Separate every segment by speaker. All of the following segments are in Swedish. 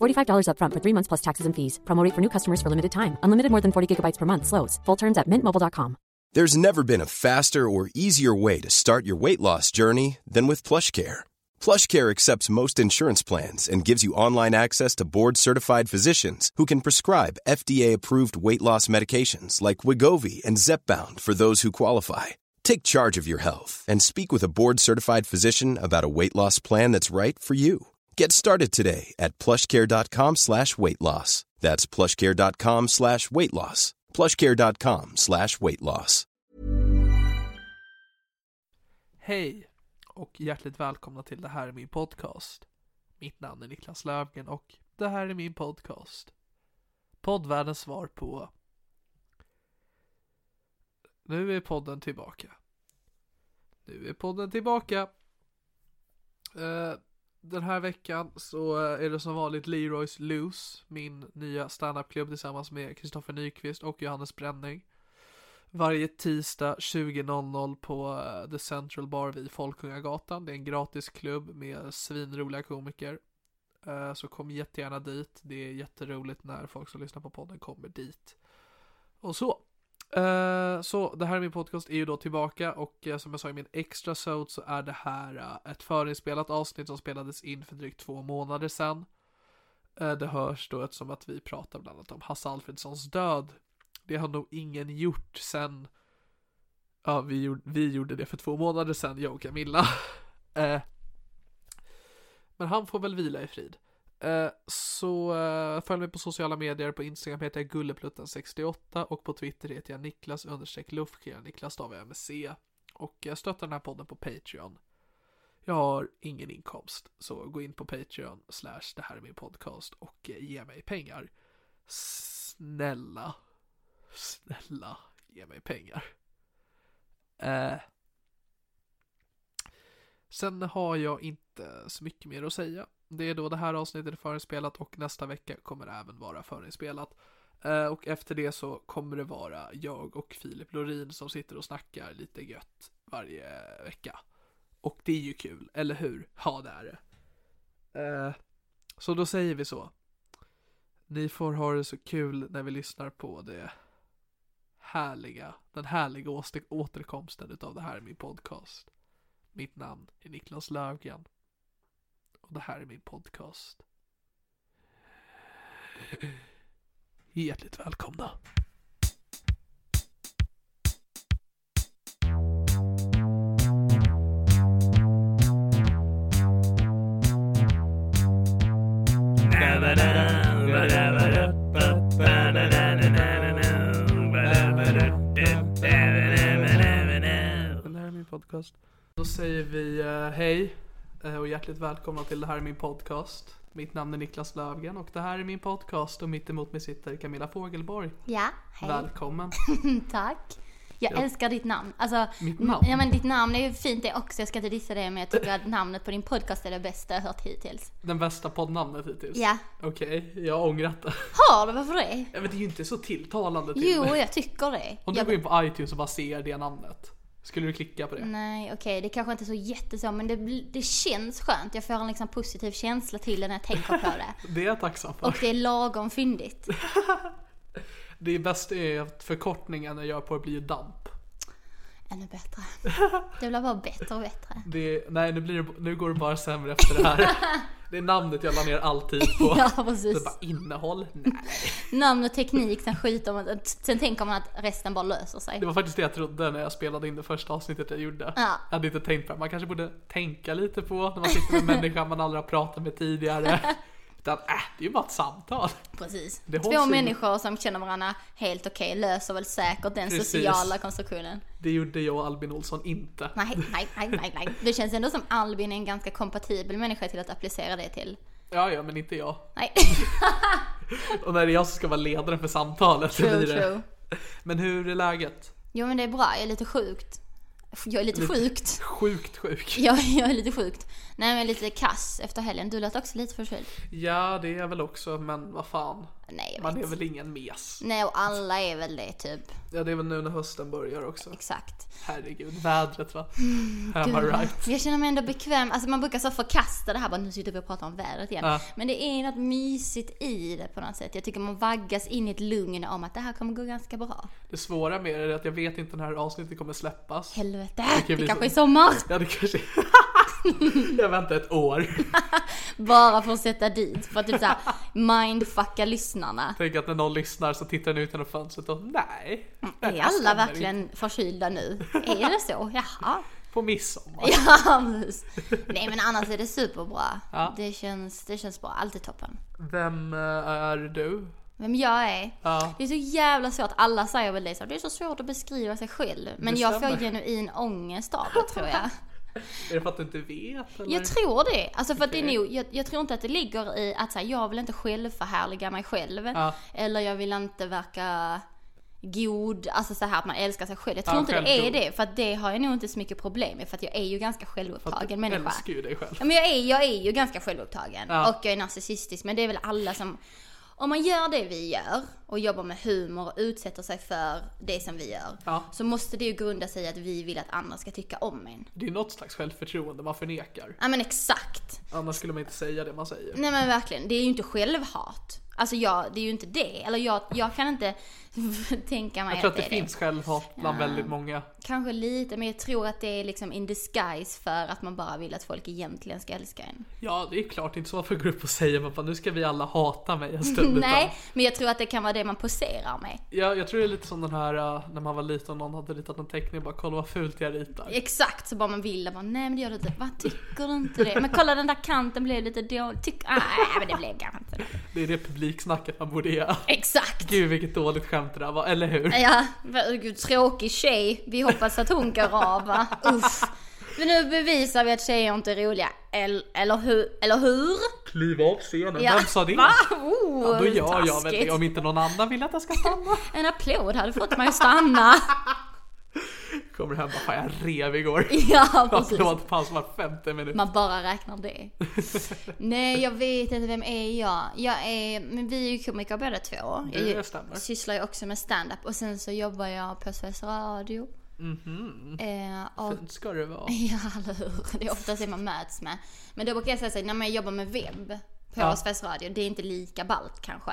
Speaker 1: $45 upfront for three months plus taxes and fees. Promote for new customers for limited time. Unlimited more than 40 gigabytes per month. Slows. Full terms at mintmobile.com.
Speaker 2: There's never been a faster or easier way to start your weight loss journey than with PlushCare. PlushCare accepts most insurance plans and gives you online access to board-certified physicians who can prescribe FDA-approved weight loss medications like Wigovi and Zepbound for those who qualify. Take charge of your health and speak with a board-certified physician about a weight loss plan that's right for you. Get started today at plushcare.com slash weight loss. That's plushcare.com slash weight loss. Plushcare.com slash weight loss.
Speaker 3: Hej och hjärtligt välkomna till Det här är min podcast. Mitt namn är Niklas Löfgren och det här är min podcast. Poddvärldens svar på... Nu är podden tillbaka. Nu är podden tillbaka. Eh, den här veckan så eh, är det som vanligt Leroys Loose, min nya standupklubb tillsammans med Kristoffer Nyqvist och Johannes Bränning. Varje tisdag 20.00 på eh, The Central Bar vid Folkungagatan. Det är en gratis klubb med svinroliga komiker. Eh, Så kom jättegärna dit. Det är jätteroligt när folk som lyssnar på podden kommer dit. Och så. Eh, Så det här är min podcast är ju då tillbaka och eh, som jag sa i min extra sode så är det här eh, ett förinspelat avsnitt som spelades in för drygt två månader sedan. Eh, Det hörs då eftersom att vi pratar bland annat om Hasse Alfredsons död. Det har nog ingen gjort sen Ja, vi gjorde, vi gjorde det för två månader sedan, jag och Camilla. Eh, men han får väl vila i frid. Eh, så eh, följ mig på sociala medier. På Instagram heter jag gullepluttan68 och på Twitter heter jag Niklas understreck Lufgren. Niklas stavar jag med C. Och eh, stötta den här podden på Patreon. Jag har ingen inkomst, så gå in på Patreon slash det här är min podcast och eh, ge mig pengar. Snälla, snälla ge mig pengar. Eh. Sen har jag inte så mycket mer att säga. Det är då det här avsnittet är förinspelat och nästa vecka kommer det även vara förinspelat. Eh, Och efter det så kommer det vara jag och Filip Lorin som sitter och snackar lite gött varje vecka. Och det är ju kul, eller hur? Ja, det är det. Eh, Så då säger vi så. Ni får ha det så kul när vi lyssnar på det härliga, den härliga åste- återkomsten utav det här är min podcast. Mitt namn är Niklas Löfgren. Och det här är min podcast. Hjärtligt välkomna. Det här är min podcast. Då säger vi eh, hej eh, och hjärtligt välkomna till Det här är min podcast. Mitt namn är Niklas Löfgren och det här är min podcast och mitt emot mig sitter Camilla Fogelborg.
Speaker 4: Ja, hej.
Speaker 3: Välkommen.
Speaker 4: Tack. Jag
Speaker 3: Ja.
Speaker 4: älskar ditt namn. Alltså,
Speaker 3: Mitt namn?
Speaker 4: Ja men ditt namn är ju fint det också, jag ska inte dissa det men jag tycker att namnet på din podcast är det bästa jag hört hittills.
Speaker 3: Den bästa poddnamnet hittills.
Speaker 4: Ja.
Speaker 3: Okej, jag har ångrat det.
Speaker 4: Har du, varför det?
Speaker 3: Ja, men det är ju inte så tilltalande till
Speaker 4: Jo,
Speaker 3: mig.
Speaker 4: jag tycker det.
Speaker 3: Om du
Speaker 4: jag...
Speaker 3: går in på iTunes och bara ser det namnet. Skulle du klicka på det?
Speaker 4: Nej, okej, det kanske inte är så jätteså men det, bl- det känns skönt. Jag får en liksom positiv känsla till det när jag tänker på det.
Speaker 3: Det är jag tacksam för.
Speaker 4: Och det är lagom fyndigt.
Speaker 3: Det bästa är att förkortningen jag gör på det blir ju DAMP.
Speaker 4: Ännu bättre. Det blir bara bättre och bättre.
Speaker 3: Det, nej, nu, blir det, nu går det bara sämre efter det här. Det är namnet jag la ner all tid på.
Speaker 4: Ja,
Speaker 3: Det är
Speaker 4: precis.
Speaker 3: bara innehåll? Nej.
Speaker 4: Namn och teknik, sen skjuter man, sen tänker man att resten bara löser sig.
Speaker 3: Det var faktiskt det jag trodde när jag spelade in det första avsnittet jag gjorde.
Speaker 4: Ja.
Speaker 3: Jag hade inte tänkt på det. Man kanske borde tänka lite på när man sitter med en människa man aldrig har pratat med tidigare. Utan, äh, det är ju bara ett samtal.
Speaker 4: Precis.
Speaker 3: Det hålls
Speaker 4: Två
Speaker 3: i-
Speaker 4: människor som känner varandra helt okej löser väl säkert den
Speaker 3: Precis.
Speaker 4: sociala konstruktionen.
Speaker 3: Det gjorde jag och Albin Olsson inte.
Speaker 4: Nej, nej, nej, nej, nej. Det känns ändå som Albin är en ganska kompatibel människa till att applicera det till.
Speaker 3: Ja, ja, men inte jag.
Speaker 4: Nej,
Speaker 3: Och när det är jag som ska vara ledaren för samtalet så
Speaker 4: true,
Speaker 3: blir det.
Speaker 4: true.
Speaker 3: Men hur är läget?
Speaker 4: Jo men det är bra, jag är lite sjukt. Jag är lite, sjukt.
Speaker 3: Sjukt sjuk.
Speaker 4: Jag, jag är lite sjukt. Nej men jag är lite kass efter helgen. Du lät också lite förkyld.
Speaker 3: Ja, det är jag väl också, men vad fan.
Speaker 4: Nej jag vet.
Speaker 3: Man är väl ingen mes.
Speaker 4: Nej och alla är väl det typ.
Speaker 3: Ja, det är väl nu när hösten börjar också.
Speaker 4: Exakt.
Speaker 3: Herregud, vädret va? Am I
Speaker 4: Mm, Gud,
Speaker 3: right?
Speaker 4: Jag känner mig ändå bekväm. Alltså man brukar så förkasta det här bara nu sitter vi och pratar om vädret igen.
Speaker 3: Ja.
Speaker 4: Men det är något mysigt i det på något sätt. Jag tycker man vaggas in i ett lugn om att det här kommer gå ganska bra.
Speaker 3: Det svåra med det är att jag vet inte när det här avsnittet kommer släppas.
Speaker 4: Helvete!
Speaker 3: kan ju
Speaker 4: Det,
Speaker 3: bli
Speaker 4: kanske
Speaker 3: så.
Speaker 4: är sommar!
Speaker 3: Ja, det kanske... jag väntar ett år.
Speaker 4: Bara för att sätta dit. För att typ såhär mindfucka lyssnarna.
Speaker 3: Tänk att när någon lyssnar så tittar den ut genom fönstret och nej.
Speaker 4: Är alla verkligen förkylda nu? Är det så? Jaha.
Speaker 3: På midsommar.
Speaker 4: Ja, precis. Nej men annars är det superbra.
Speaker 3: Ja.
Speaker 4: Det, känns, det känns bra, alltid toppen.
Speaker 3: Vem eh, är du?
Speaker 4: Vem jag är?
Speaker 3: Ja.
Speaker 4: Det är så jävla svårt, alla säger väl det så. Det är så svårt att beskriva sig själv. Men
Speaker 3: Det
Speaker 4: jag
Speaker 3: stämmer.
Speaker 4: får genuin ångest av det tror jag.
Speaker 3: Är det för att du inte vet? Eller?
Speaker 4: Jag tror det. Alltså för att det är
Speaker 3: Okej.
Speaker 4: nog, jag, jag tror inte att det ligger i att så här, jag vill inte självförhärliga mig själv.
Speaker 3: Ja.
Speaker 4: Eller jag vill inte verka god, alltså så här att man älskar sig själv. Jag tror
Speaker 3: Ja,
Speaker 4: inte det är
Speaker 3: självgod.
Speaker 4: det. För att det har jag nog inte så mycket problem med. För att jag är ju ganska
Speaker 3: För att
Speaker 4: självupptagen
Speaker 3: du
Speaker 4: människa. Mm.
Speaker 3: älskar ju dig själv.
Speaker 4: Ja, men jag är, jag är ju ganska självupptagen
Speaker 3: Ja.
Speaker 4: och jag är narcissistisk men det är väl alla som om man gör det vi gör och jobbar med humor och utsätter sig för det som vi gör
Speaker 3: Ja.
Speaker 4: så måste det ju grunda sig i att vi vill att andra ska tycka om en.
Speaker 3: Det är något slags självförtroende man förnekar.
Speaker 4: Ja men exakt.
Speaker 3: Annars skulle man inte säga det man säger.
Speaker 4: Nej men verkligen, det är ju inte självhat. Alltså jag, det är ju inte det. Eller jag, jag kan inte tänka mig
Speaker 3: Jag tror att det
Speaker 4: är
Speaker 3: finns självhat bland väldigt många.
Speaker 4: Kanske lite, men jag tror att det är liksom in disguise för att man bara vill att folk egentligen ska älska en.
Speaker 3: Ja, det är klart det är inte så att man går upp och säger man bara, nu ska vi alla hata mig en stund.
Speaker 4: Nej,
Speaker 3: Utan,
Speaker 4: men jag tror att det kan vara det man poserar med.
Speaker 3: jag, jag tror det är lite som den här eh, när man var liten och någon hade ritat en teckning och bara kolla vad fult jag ritar.
Speaker 4: Exakt, så bara man vill. Bara, nej men det gör du inte. Vad tycker du inte det? Men kolla den där kanten blev lite dålig. Tyck, ah, nej men det blev kanske inte det.
Speaker 3: Det är det publiksnacket man borde göra.
Speaker 4: Exakt.
Speaker 3: Gud vilket dåligt skämt det där var, eller hur?
Speaker 4: Ja, vad- gud, tråkig tjej. Vi hoppas att hon går av va? Uff. Men nu bevisar vi att tjejer inte är roliga. Eller, eller hur? Eller hur?
Speaker 3: Kliv av scenen,
Speaker 4: Ja.
Speaker 3: vem sa det?
Speaker 4: Va? Oh,
Speaker 3: Ja, då gör jag väl
Speaker 4: taskigt.
Speaker 3: det om inte någon annan vill att jag ska stanna.
Speaker 4: En applåd hade fått mig att stanna.
Speaker 3: Kommer hem bara, fan jag rev igår.
Speaker 4: Ja, precis.
Speaker 3: Applådpaus var femte minut.
Speaker 4: Man bara räknar det. Nej, jag vet inte. Vem är jag? Jag är... Men vi är ju komiker båda två. Jag
Speaker 3: Det
Speaker 4: ju-
Speaker 3: stämmer.
Speaker 4: sysslar ju också med stand-up och sen så jobbar jag på Sveriges Radio. Eh, och,
Speaker 3: Mhm. Fint ska det vara.
Speaker 4: ja, eller hur? Det är oftast det man möts med. Men då brukar jag säga så här, när jag jobbar med webb på
Speaker 3: Ja.
Speaker 4: Sveriges Radio, det är inte lika ballt kanske.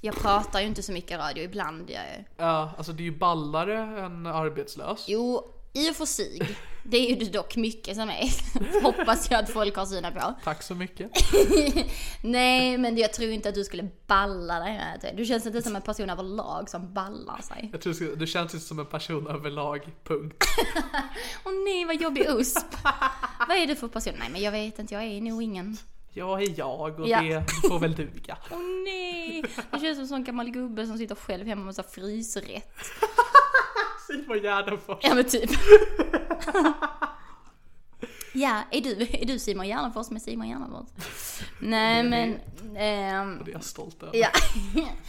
Speaker 4: Jag pratar ju inte så mycket i radio, ibland gör jag ju.
Speaker 3: Ja, alltså det är ju ballare än arbetslös.
Speaker 4: Jo, i och för sig. Det är ju dock mycket som är. Hoppas jag att folk har syna på.
Speaker 3: Tack så mycket.
Speaker 4: Nej, men jag tror inte att du skulle balla dig med det. Du känns inte som en person överlag som ballar sig.
Speaker 3: Jag tror du ska- du känns inte som en person överlag, punkt.
Speaker 4: Åh nej, vad jobbig USP. vad är du för person? Nej, men jag vet inte. Jag är nog ingen.
Speaker 3: Jag är jag och
Speaker 4: Ja.
Speaker 3: det får väl duga.
Speaker 4: Åh nej! Du känns som en sån gammal gubbe som sitter själv hemma med så här frysrätt.
Speaker 3: Simon Gärdenfors.
Speaker 4: Ja, men typ. ja, är du, är du Simon Gärdenfors med Simon Gärdenfors? Nej, men... ehm,
Speaker 3: Det är jag stolt över.
Speaker 4: Ja.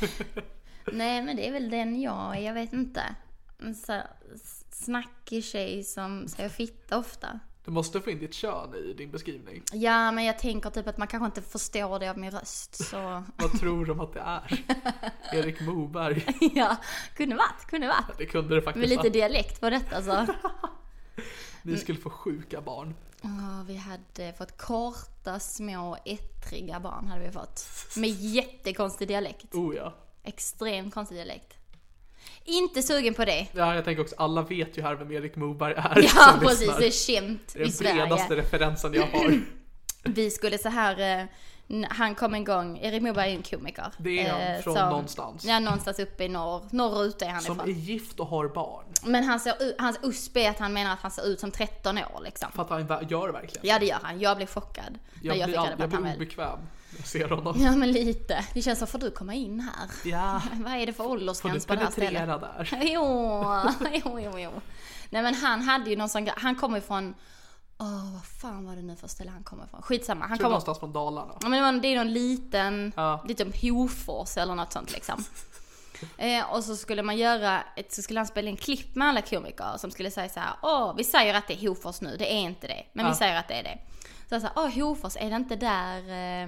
Speaker 4: Nej men det är väl den jag är, jag vet inte. En så här s- snackig tjej som säger fitta ofta.
Speaker 3: Du måste få in ditt kön i din beskrivning.
Speaker 4: Ja men jag tänker typ att man kanske inte förstår det av min röst så...
Speaker 3: Vad tror de att det är? Erik Moberg.
Speaker 4: ja, kunde varit, kunde varit.
Speaker 3: Det kunde det faktiskt
Speaker 4: Med lite
Speaker 3: vara.
Speaker 4: dialekt på detta så.
Speaker 3: Ni skulle få sjuka barn.
Speaker 4: Åh, vi hade fått korta, små, ettriga barn hade vi fått. Med jättekonstig dialekt.
Speaker 3: Oh ja.
Speaker 4: Extremt konstig dialekt. Inte sugen på det.
Speaker 3: Ja, jag tänker också, alla vet ju här vem Erik Moberg är
Speaker 4: Ja
Speaker 3: som
Speaker 4: precis,
Speaker 3: lyssnar.
Speaker 4: det är känt
Speaker 3: Det är
Speaker 4: i
Speaker 3: den bredaste
Speaker 4: Sverige.
Speaker 3: referensen jag har.
Speaker 4: Vi skulle så här, eh, n- han kom en gång, Erik Moberg är en komiker.
Speaker 3: Det är han,
Speaker 4: eh,
Speaker 3: från någonstans.
Speaker 4: Ja någonstans uppe i norr, norrut är han
Speaker 3: Som är
Speaker 4: ifrån.
Speaker 3: gift och har barn.
Speaker 4: Men han ser, ut- hans USP är att han menar att han ser ut som 13 år liksom.
Speaker 3: För att han ver- gör verkligen.
Speaker 4: Ja det gör han, jag blev chockad.
Speaker 3: Jag,
Speaker 4: när jag
Speaker 3: blir,
Speaker 4: fick reda
Speaker 3: all,
Speaker 4: på
Speaker 3: jag
Speaker 4: att han
Speaker 3: blir
Speaker 4: väl...
Speaker 3: obekväm när jag ser honom.
Speaker 4: Ja men lite. Det känns som, får du komma in här?
Speaker 3: Ja,
Speaker 4: Vad är det
Speaker 3: får
Speaker 4: för
Speaker 3: du
Speaker 4: åldersgräns på det här stället?
Speaker 3: penetrera där?
Speaker 4: Jo, jo, jo, jo. Nej men han hade ju någon sån grej. Han kommer ifrån... Åh, vad fan var det nu för ställe han kommer ifrån? Skitsamma. Han
Speaker 3: Jag tror
Speaker 4: kommer...
Speaker 3: någonstans från Dalarna.
Speaker 4: Ja, men det, var, det är någon liten,
Speaker 3: Ja.
Speaker 4: liten Hofors eller något sånt liksom. Eh, och så skulle man göra, ett, så skulle han spela in klipp med alla komiker som skulle säga så här: åh vi säger att det är Hofors nu, det är inte det. Men
Speaker 3: Ja.
Speaker 4: vi säger att det är det. Så jag sa, åh Hofors, är det inte där eh,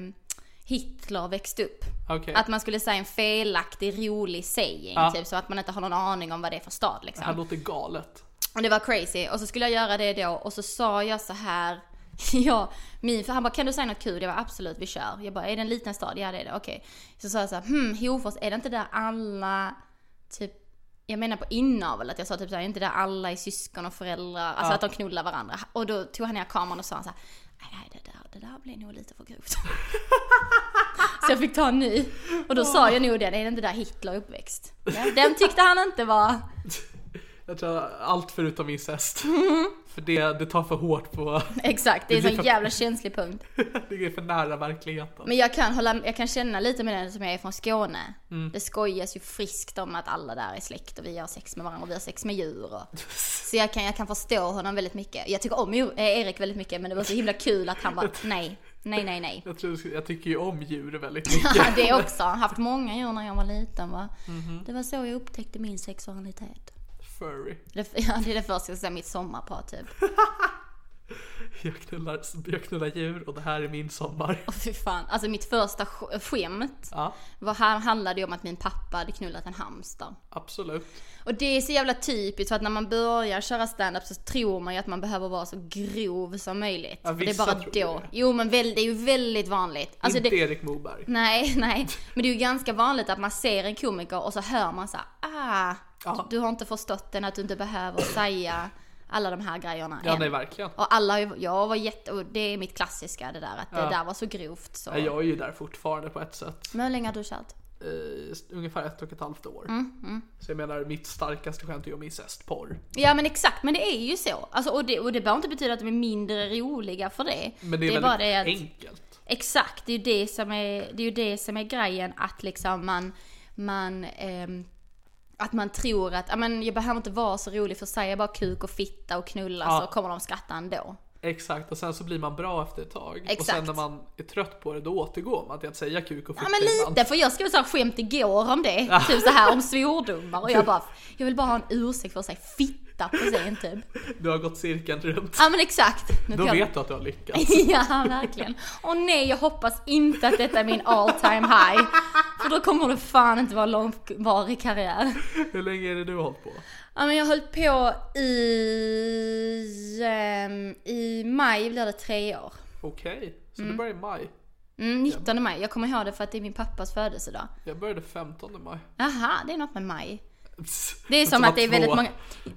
Speaker 4: Hitler växte upp?
Speaker 3: Okej.
Speaker 4: Att man skulle säga en felaktig rolig saying,
Speaker 3: Ja.
Speaker 4: typ så att man inte har någon aning om vad det är för stad liksom.
Speaker 3: Det här låter galet.
Speaker 4: Och det var crazy. Och så skulle jag göra det då och så sa jag så här. Ja, min, för han bara kan du säga något kul? Jag var absolut vi kör. Jag bara är det en liten stad? Ja det är det, okej. Så sa jag så här, hmm Hofors är det inte där alla typ jag menar på inavel, att jag sa typ såhär, är det inte där alla är syskon och föräldrar, alltså
Speaker 3: Ja.
Speaker 4: att de knullar varandra. Och då tog han ner kameran och sa han såhär, nej nej det där, det där blir nog lite för grovt. så jag fick ta en ny. Och då sa jag nog det, är det inte där Hitler är uppväxt? Ja, den tyckte han inte var...
Speaker 3: Jag tror allt förutom incest. För det, det tar för hårt på...
Speaker 4: Exakt, det är
Speaker 3: Det
Speaker 4: en
Speaker 3: blir
Speaker 4: sån
Speaker 3: för-
Speaker 4: jävla känslig punkt.
Speaker 3: Det är för nära verkligheten.
Speaker 4: Men jag kan, hålla, jag kan känna lite med den som jag är från Skåne. Det skojas ju friskt om att alla där är släkt och vi har sex med varandra och vi har sex med djur. Och... Så jag kan, jag kan förstå honom väldigt mycket. Jag tycker om ju- eh, Erik väldigt mycket men det var så himla kul att han bara nej, nej, nej, nej.
Speaker 3: Jag, tror, jag tycker ju om djur väldigt mycket.
Speaker 4: Det också, han har haft många djur när jag var liten va. Det var så jag upptäckte min sexualitet.
Speaker 3: Furry.
Speaker 4: Det, ja, det är det första jag ska säga, mitt sommarprat typ.
Speaker 3: Jag knullar, jag knullar djur och det här är min sommar.
Speaker 4: Åh fy fan, alltså mitt första sk- skämt
Speaker 3: Ja,
Speaker 4: Vad här handlade ju om att min pappa hade knullat en hamster.
Speaker 3: absolut.
Speaker 4: Och det är så jävla typiskt för att när man börjar köra stand-up så tror man ju att man behöver vara så grov som möjligt.
Speaker 3: Ja,
Speaker 4: För det är
Speaker 3: vissa
Speaker 4: bara
Speaker 3: tror
Speaker 4: då.
Speaker 3: det.
Speaker 4: Jo men väl, det är ju väldigt vanligt. Alltså
Speaker 3: Inte
Speaker 4: det,
Speaker 3: Erik Moberg.
Speaker 4: nej, nej. Men det är ju ganska vanligt att man ser en komiker och så hör man så här, ah,
Speaker 3: Ja.
Speaker 4: du har inte förstått den att du inte behöver säga alla de här grejerna
Speaker 3: Ja,
Speaker 4: än.
Speaker 3: nej verkligen.
Speaker 4: Och alla har ju, jag var jätte, och det är mitt klassiska det där att det
Speaker 3: Ja.
Speaker 4: där var så grovt så.
Speaker 3: Nej, Jag är ju där fortfarande på ett sätt.
Speaker 4: Men hur länge har du kört?
Speaker 3: Eh, ungefär ett och ett halvt år.
Speaker 4: Mm,
Speaker 3: Så jag menar, mitt starkaste skämt är ju om incestporr.
Speaker 4: Ja men exakt, men det är ju så. Alltså, och, det, och det behöver inte betyda att de är mindre roliga för det.
Speaker 3: Men det är,
Speaker 4: bara
Speaker 3: väldigt
Speaker 4: det att,
Speaker 3: enkelt.
Speaker 4: Exakt, det är ju det som är, det är, ju det som är grejen att liksom man, man ehm, att man tror att, ja, men jag behöver inte vara så rolig för att säga bara kuk och fitta och knulla
Speaker 3: Ja.
Speaker 4: så kommer de skratta ändå.
Speaker 3: Exakt, och sen så blir man bra efter ett tag. Och
Speaker 4: Exakt.
Speaker 3: sen när man är trött på det, då återgår man till att säga kuk och
Speaker 4: Ja
Speaker 3: fitta
Speaker 4: men
Speaker 3: ibland.
Speaker 4: lite, för jag skrev så här skämt igår om det. Typ så här om svordomar och jag bara, jag vill bara ha en ursäkt för att säga fitta på scen typ.
Speaker 3: Du har gått cirkeln runt.
Speaker 4: Ja men exakt. Nu
Speaker 3: Då
Speaker 4: får jag-
Speaker 3: vet du att du har lyckats.
Speaker 4: Ja, verkligen. Och nej, jag hoppas inte att detta är min all time high. För då kommer det fan inte vara långvarig karriär.
Speaker 3: Hur länge är det du har hållit på?
Speaker 4: Ja, men jag höll på i... ehm, I maj blir det tre år.
Speaker 3: Okej, så du började i maj.
Speaker 4: Mm, 19 maj. Jag kommer ihåg det för att det är min pappas födelsedag.
Speaker 3: Jag började 15 maj.
Speaker 4: Aha, det är något med maj. Det är som att det är väldigt många...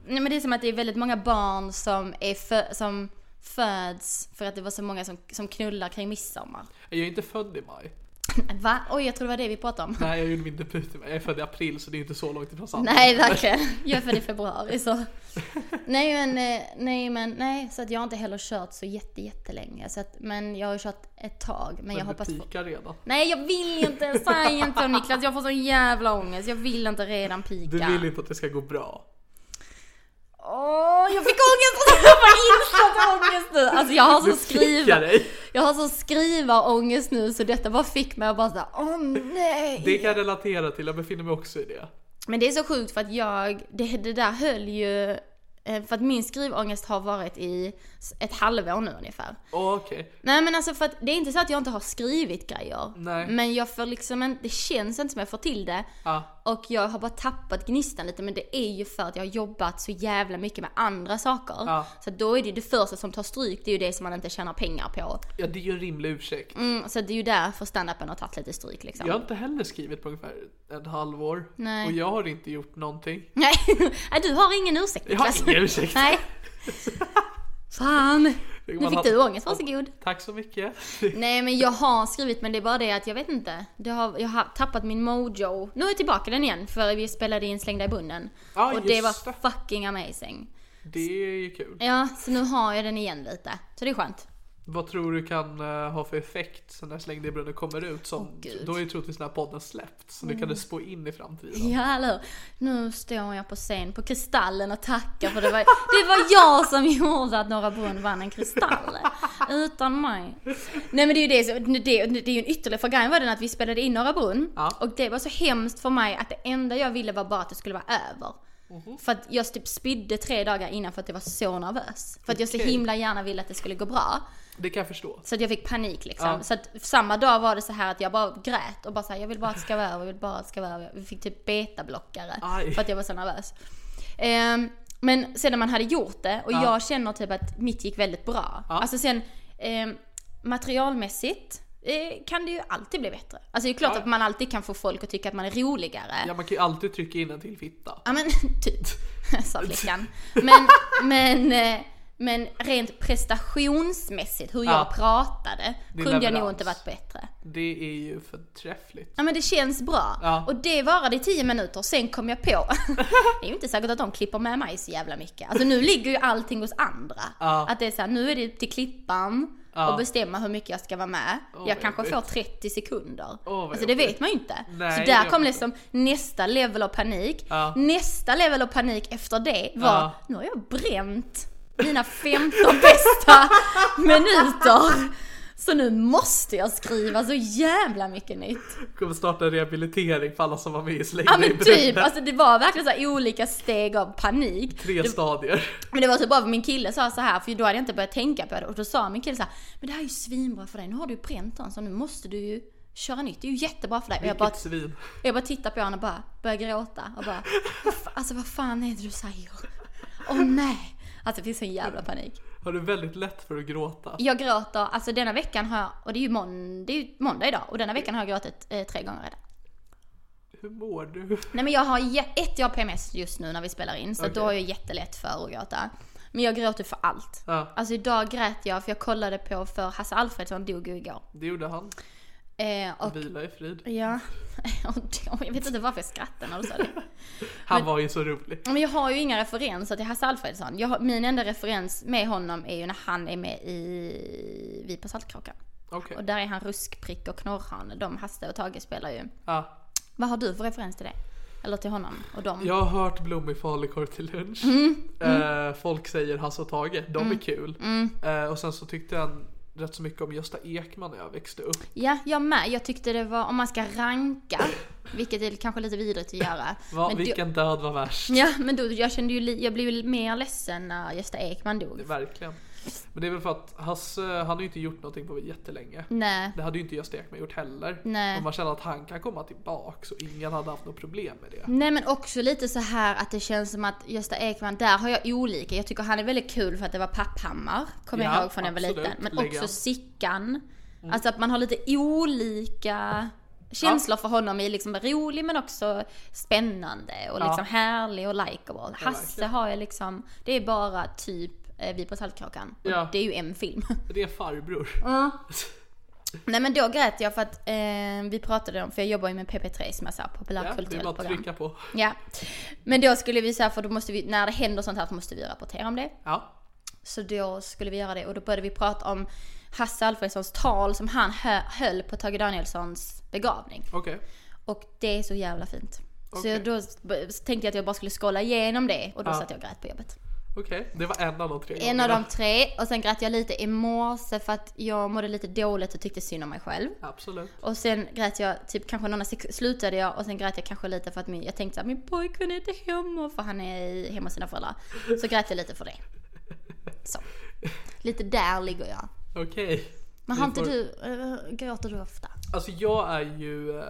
Speaker 4: Nej, men det är som att det är väldigt många barn som är fö, som föds för att det var så många som, som knullar kring midsommar.
Speaker 3: Jag är inte född i maj.
Speaker 4: Va? Oj, jag tror det var det vi pratade om.
Speaker 3: Nej, jag gjorde min debut i maj. Jag är född i april så det är inte så långt ifrån sanningen.
Speaker 4: Nej verkligen, jag är född i februari så. Nej men, eh, nej men, nej så att jag har inte heller kört så jätte, jättelänge. Så att, men jag har ju kört ett tag. Men, jag
Speaker 3: Men
Speaker 4: hoppas
Speaker 3: du
Speaker 4: på...
Speaker 3: pikar redan.
Speaker 4: Nej jag vill inte, säg inte Niklas, jag får sån jävla ångest. Jag vill inte redan
Speaker 3: Du
Speaker 4: pika.
Speaker 3: vill inte att det ska gå bra.
Speaker 4: Åh, jag fick ångest! Jag får instant ångest nu! Alltså jag har
Speaker 3: Du
Speaker 4: så
Speaker 3: pikar
Speaker 4: skriva...
Speaker 3: dig.
Speaker 4: Jag har så skrivarångest nu så detta bara fick mig att bara såhär, åh nej!
Speaker 3: Det kan jag relatera till, jag befinner mig också i det.
Speaker 4: Men det är så sjukt för att jag, det, det där höll ju, eh, för att min skrivångest har varit i s- ett halvår nu ungefär.
Speaker 3: Åh, Okej,
Speaker 4: Nej men alltså för att det är inte så att jag inte har skrivit grejer.
Speaker 3: Nej.
Speaker 4: Men jag får liksom en, det känns inte som jag får till det.
Speaker 3: ja.
Speaker 4: och jag har bara tappat gnistan lite men det är ju för att jag har jobbat så jävla mycket med andra saker.
Speaker 3: Ja.
Speaker 4: Så då är det ju det första som tar stryk, det är ju det som man inte tjänar pengar på.
Speaker 3: Ja, det är ju en rimlig ursäkt.
Speaker 4: Mm, så det är ju därför standupen har tagit lite stryk liksom.
Speaker 3: Jag har inte heller skrivit på ungefär ett halvår.
Speaker 4: Nej.
Speaker 3: Och jag har inte gjort någonting.
Speaker 4: Nej, Nej, du har ingen ursäkt
Speaker 3: Jag har
Speaker 4: Niklas.
Speaker 3: ingen ursäkt.
Speaker 4: Nej. Fan.
Speaker 3: Det kan
Speaker 4: Nu
Speaker 3: man
Speaker 4: fick
Speaker 3: ha-
Speaker 4: du ångest, varsågod.
Speaker 3: Tack så mycket.
Speaker 4: Nej men jag har skrivit men det är bara det att jag vet inte. Det har, jag har tappat min mojo. Nu är jag tillbaka den igen för vi spelade in Slängda i bunden.
Speaker 3: Ja,
Speaker 4: och
Speaker 3: just
Speaker 4: det var
Speaker 3: det.
Speaker 4: fucking amazing.
Speaker 3: Det är ju kul.
Speaker 4: Ja, så nu har jag den igen lite. Så det är skönt.
Speaker 3: Vad tror du kan eh, ha för effekt sen när Släng dig i brunnen kommer ut? Som,
Speaker 4: Åh, gud. Mm.
Speaker 3: då är ju troligtvis den här podden släppt. Så nu kan det spå in i framtiden.
Speaker 4: Ja, eller hur? Nu står jag på scen på Kristallen och tackar för det var, det var jag som gjorde att Norra Brunn vann en Kristall. Utan mig. Nej men det är ju det, som- det, det är ju en ytterligare, för grejen var den att vi spelade in Norra Brunn.
Speaker 3: Ja.
Speaker 4: Och det var så hemskt för mig att det enda jag ville var bara att det skulle vara över.
Speaker 3: Mhm.
Speaker 4: För att jag typ spydde tre dagar innan för att jag var så nervös. För att jag så
Speaker 3: Okej.
Speaker 4: himla gärna ville att det skulle gå bra.
Speaker 3: Det kan jag förstå.
Speaker 4: Så att jag fick panik liksom.
Speaker 3: Ja.
Speaker 4: Så att samma dag var det så här att jag bara grät och bara så här, jag vill bara att det ska vara över, jag vill bara att det ska vara över. Vi fick typ betablockare
Speaker 3: Aj.
Speaker 4: för att jag var så nervös. Ehm, men sen när man hade gjort det och
Speaker 3: Ja.
Speaker 4: jag känner typ att mitt gick väldigt bra.
Speaker 3: Ja.
Speaker 4: Alltså sen ehm, materialmässigt eh, kan det ju alltid bli bättre. Alltså det är klart
Speaker 3: Ja.
Speaker 4: att man alltid kan få folk att tycka att man är roligare.
Speaker 3: Ja, man kan ju alltid trycka in en till fitta.
Speaker 4: Ja men typ, sa flickan. Men, men, eh, men rent prestationsmässigt, hur jag
Speaker 3: Ja.
Speaker 4: pratade,
Speaker 3: Din
Speaker 4: kunde jag
Speaker 3: leverans.
Speaker 4: nog inte varit bättre.
Speaker 3: Det är ju förträffligt.
Speaker 4: Ja men det känns bra.
Speaker 3: Ja.
Speaker 4: Och det varade i 10 minuter, sen kom jag på. det är ju inte säkert att de klipper med mig så jävla mycket. Alltså nu ligger ju allting hos andra.
Speaker 3: Ja.
Speaker 4: Att det är såhär, nu är det upp till klippan
Speaker 3: Ja.
Speaker 4: och bestämma hur mycket jag ska vara med.
Speaker 3: Åh,
Speaker 4: jag
Speaker 3: vad
Speaker 4: kanske får
Speaker 3: jobbigt.
Speaker 4: 30 sekunder.
Speaker 3: Åh, vad
Speaker 4: alltså det
Speaker 3: jobbigt.
Speaker 4: vet man ju inte.
Speaker 3: Nej,
Speaker 4: så
Speaker 3: det gör
Speaker 4: där
Speaker 3: man
Speaker 4: kom
Speaker 3: inte.
Speaker 4: liksom nästa level av panik.
Speaker 3: Ja.
Speaker 4: Nästa level av panik efter det var,
Speaker 3: Ja.
Speaker 4: nu har jag bränt mina 15 bästa minuter. Så nu måste jag skriva så jävla mycket nytt.
Speaker 3: Kommer starta en rehabilitering för alla som var med i Släng
Speaker 4: Ja
Speaker 3: dig i
Speaker 4: men
Speaker 3: brunnen.
Speaker 4: typ, alltså det var verkligen så här olika steg av panik.
Speaker 3: Tre stadier.
Speaker 4: Men det var typ bara för min kille sa så här, för då hade jag inte börjat tänka på det. Och då sa min kille så här, men det här är ju svinbra för dig, nu har du ju bränt den så nu måste du ju köra nytt. Det är ju jättebra för dig. Och jag
Speaker 3: Vilket
Speaker 4: bara,
Speaker 3: svin.
Speaker 4: jag bara tittar på honom och bara börjar gråta och bara, "Vad fa- alltså vad fan är det du säger? Åh nej! Alltså det finns sån jävla panik.
Speaker 3: Har du väldigt lätt för att gråta?
Speaker 4: Jag gråter, alltså denna veckan har jag, och det är ju, mån, det är ju måndag idag, och denna veckan har jag gråtit eh, tre gånger redan.
Speaker 3: Hur mår du?
Speaker 4: Nej men jag har, jä- ett jag har PMS just nu när vi spelar in så att då
Speaker 3: Okej.
Speaker 4: har jag jättelätt för att gråta. Men jag gråter för allt.
Speaker 3: Ja.
Speaker 4: Alltså idag grät jag för jag kollade på för Hasse Alfredsson dog ju igår.
Speaker 3: Det gjorde han.
Speaker 4: Eh, och,
Speaker 3: Vila i frid.
Speaker 4: ja. och jag vet inte varför jag skrattade när du sa det.
Speaker 3: Han var ju så rolig.
Speaker 4: Men jag har ju inga referenser till Hasse Alfredsson. Jag har, min enda referens med honom är ju när han är med i Vi på Saltkråkan.
Speaker 3: Okej.
Speaker 4: Och där är han Ruskprick och Knorrhan. De Hasse och Tage spelar ju.
Speaker 3: Ja.
Speaker 4: Vad har du för referens till det? Eller till honom och dem?
Speaker 3: Jag har hört blommig falukorv till lunch.
Speaker 4: Mm,
Speaker 3: Eh, folk säger Hasse och Tage, de är kul. Eh, och sen så tyckte jag rätt så mycket om Gösta Ekman när jag växte upp.
Speaker 4: Ja, jag med. Jag tyckte det var, om man ska ranka, vilket är kanske lite vidrigt att göra.
Speaker 3: Va,
Speaker 4: men
Speaker 3: vilken död var värst?
Speaker 4: Då, ja, men då, jag kände ju, li- jag blev ju mer ledsen när Gösta Ekman dog.
Speaker 3: Verkligen. Men det är väl för att Hasse, han har ju inte gjort någonting på jättelänge.
Speaker 4: Nej.
Speaker 3: Det hade ju inte Gösta Ekman gjort heller.
Speaker 4: Nej.
Speaker 3: Och man känner att han kan komma tillbaka så ingen hade haft något problem med det.
Speaker 4: Nej men också lite så här att det känns som att Gösta Ekman, där har jag olika. Jag tycker han är väldigt kul för att det var Papphammar, kommer jag
Speaker 3: Ja,
Speaker 4: ihåg från när jag var
Speaker 3: absolut.
Speaker 4: liten. Men
Speaker 3: Legend. Mm.
Speaker 4: också Sickan. Alltså att man har lite olika känslor för honom i liksom rolig men också spännande och
Speaker 3: Ja.
Speaker 4: liksom härlig och likeable. Hasse
Speaker 3: verkligen.
Speaker 4: har jag liksom, det är bara typ eh, Vi på Saltkråkan. Och
Speaker 3: Ja.
Speaker 4: Det är ju en film.
Speaker 3: Det är en farbror.
Speaker 4: Mm. Nej men då grät jag för att eh, vi pratade om, för jag jobbar ju med PP3 som är så här
Speaker 3: Ja, det är bara
Speaker 4: populärkulturellt
Speaker 3: att
Speaker 4: program.
Speaker 3: trycka på.
Speaker 4: Ja. Men då skulle vi säga, för då måste vi, när det händer sånt här så måste vi rapportera om det.
Speaker 3: Ja.
Speaker 4: Så då skulle vi göra det och då började vi prata om Hasse Alfredsons tal som han hö- höll på Tage Danielssons begravning.
Speaker 3: Okej.
Speaker 4: Och det är så jävla fint. Så
Speaker 3: Okej.
Speaker 4: jag då s- b- så tänkte jag att jag bara skulle skrolla igenom det och då
Speaker 3: Ja.
Speaker 4: satt jag och grät på jobbet.
Speaker 3: Okej, det var en av de tre
Speaker 4: En
Speaker 3: gångerna.
Speaker 4: av de tre och sen grät jag lite i morse för att jag mådde lite dåligt och tyckte synd om mig själv.
Speaker 3: Absolut.
Speaker 4: Och sen grät jag, typ kanske några sekunder, slutade jag och sen grät jag kanske lite för att min, jag tänkte att min pojkvän är inte hemma för han är i- hemma hos sina föräldrar. Så grät jag lite för det. Så. Lite där ligger jag.
Speaker 3: Okej.
Speaker 4: Men
Speaker 3: Vi
Speaker 4: har inte
Speaker 3: får-
Speaker 4: du, äh, gråter du ofta?
Speaker 3: Alltså jag är ju... eh,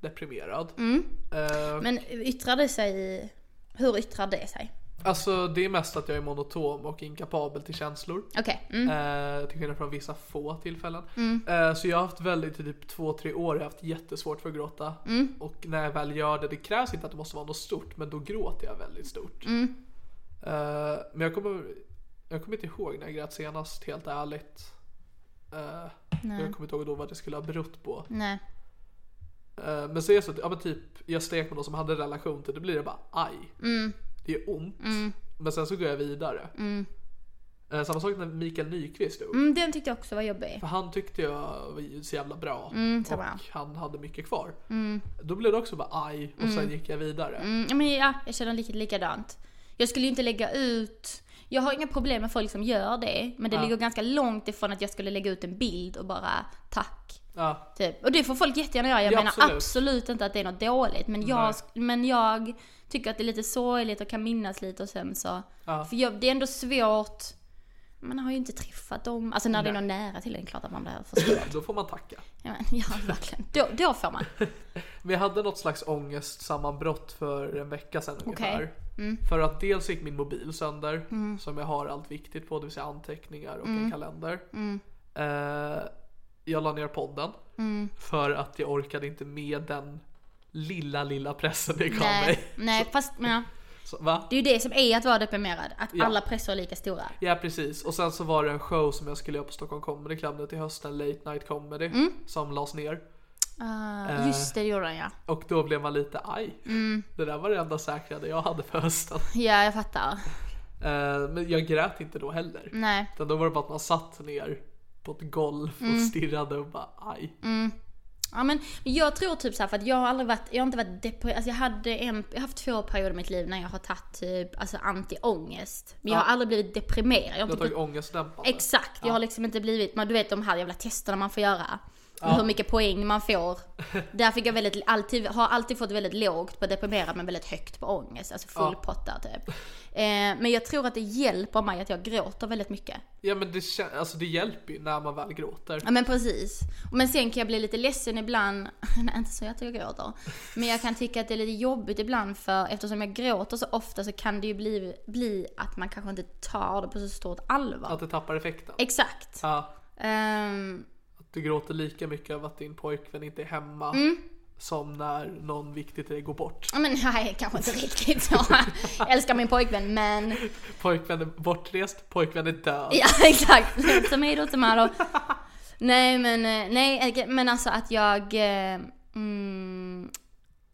Speaker 3: deprimerad.
Speaker 4: Mm.
Speaker 3: Eh,
Speaker 4: Men yttrar det sig i... Hur yttrar det sig?
Speaker 3: Alltså det är mest att jag är monotom och inkapabel till känslor.
Speaker 4: Okej. Mm.
Speaker 3: Eh, till skillnad från vissa få tillfällen. Eh, så jag har haft väldigt, i typ två, tre år, jag har haft jättesvårt för att gråta. Och när jag väl gör det, det krävs inte att det måste vara något stort, men då gråter jag väldigt stort. Eh, men jag kommer, jag kommer inte ihåg när jag grät senast, helt ärligt. Eh, jag kommer inte ihåg då vad det skulle ha berott på.
Speaker 4: Nej.
Speaker 3: Eh, men så är det så att, ja men typ, jag skrek med någon som hade en relation till det, blir det bara aj. Det är ont. Men sen så går jag vidare. Eh, samma sak när Mikael Nyqvist dog.
Speaker 4: Mm, den tyckte jag också var jobbig.
Speaker 3: För han tyckte jag var så jävla bra.
Speaker 4: samma.
Speaker 3: och han hade mycket kvar. Då blev det också bara aj och sen gick jag vidare.
Speaker 4: Mm, ja, men ja, jag känner lika, likadant. Jag skulle ju inte lägga ut... Jag har inga problem med folk som gör det. Men det ligger ganska långt ifrån att jag skulle lägga ut en bild och bara tack.
Speaker 3: Ja,
Speaker 4: Typ. Och det får folk jättegärna göra. Jag
Speaker 3: Ja,
Speaker 4: menar
Speaker 3: absolut.
Speaker 4: absolut. inte att det är något dåligt. Men jag, men jag tycker att det är lite sorgligt och kan minnas lite och sen så. För jag, det är ändå svårt. Man har ju inte träffat dem. Alltså när det är någon nära till en, klart att man blir förstörd.
Speaker 3: då får man tacka.
Speaker 4: Ja, men, ja verkligen. Då, då får man.
Speaker 3: Men jag hade något slags ångestsammanbrott för en vecka sedan ungefär.
Speaker 4: Okej. Mm.
Speaker 3: För att dels gick min mobil sönder, som jag har allt viktigt på, det vill säga anteckningar och
Speaker 4: Mm.
Speaker 3: en kalender. Eh, jag la ner podden
Speaker 4: Mm.
Speaker 3: för att jag orkade inte med den lilla, lilla pressen det gav
Speaker 4: Nej,
Speaker 3: mig.
Speaker 4: nej fast ja.
Speaker 3: Så, va?
Speaker 4: det är ju det som är att vara deprimerad. Att alla pressar är lika stora.
Speaker 3: Ja precis och sen så var det en show som jag skulle göra på Stockholm Comedy Club nu till hösten, Late Night Comedy, som lades ner.
Speaker 4: Ah,
Speaker 3: Eh.
Speaker 4: just det, det gjorde den ja.
Speaker 3: Och då blev man lite aj. Det där var det enda säkra jag hade för hösten.
Speaker 4: Ja, jag fattar.
Speaker 3: Eh, men jag grät inte då heller.
Speaker 4: Nej.
Speaker 3: Utan då var det bara att man satt ner på ett golv och stirrade och bara aj.
Speaker 4: Ja, men jag tror typ så här, för att jag har aldrig varit, jag har inte varit deprimerad. Alltså jag hade en, jag har haft två perioder i mitt liv när jag har tagit typ, alltså antiångest. Men jag har
Speaker 3: Ja.
Speaker 4: aldrig blivit deprimerad. Jag har
Speaker 3: Du har
Speaker 4: inte
Speaker 3: tagit ångestdämpande.
Speaker 4: Exakt, jag har liksom inte blivit, men du vet de här jävla testerna man får göra. Hur mycket poäng man får. Där fick jag väldigt, alltid, har alltid fått väldigt lågt på deprimerad men väldigt högt på ångest. Alltså full
Speaker 3: Ja.
Speaker 4: pott där typ. Eh, men jag tror att det hjälper mig att jag gråter väldigt mycket.
Speaker 3: Ja men det, kän- alltså, det hjälper ju när man väl gråter.
Speaker 4: Ja men precis. Men sen kan jag bli lite ledsen ibland, nej inte så att jag gråter. Men jag kan tycka att det är lite jobbigt ibland för eftersom jag gråter så ofta så kan det ju bli, bli att man kanske inte tar det på så stort allvar.
Speaker 3: Att det tappar effekten.
Speaker 4: Exakt.
Speaker 3: Ja,
Speaker 4: Ehm,
Speaker 3: att du gråter lika mycket av att din pojkvän inte är hemma som när någon viktig till dig går bort.
Speaker 4: Ja, men nej, kanske inte riktigt så. Jag älskar min pojkvän men...
Speaker 3: Pojkvän är bortrest, pojkvän är död.
Speaker 4: Ja exakt, som är då som är då. Nej men, eh, nej men alltså att jag... eh, Mm,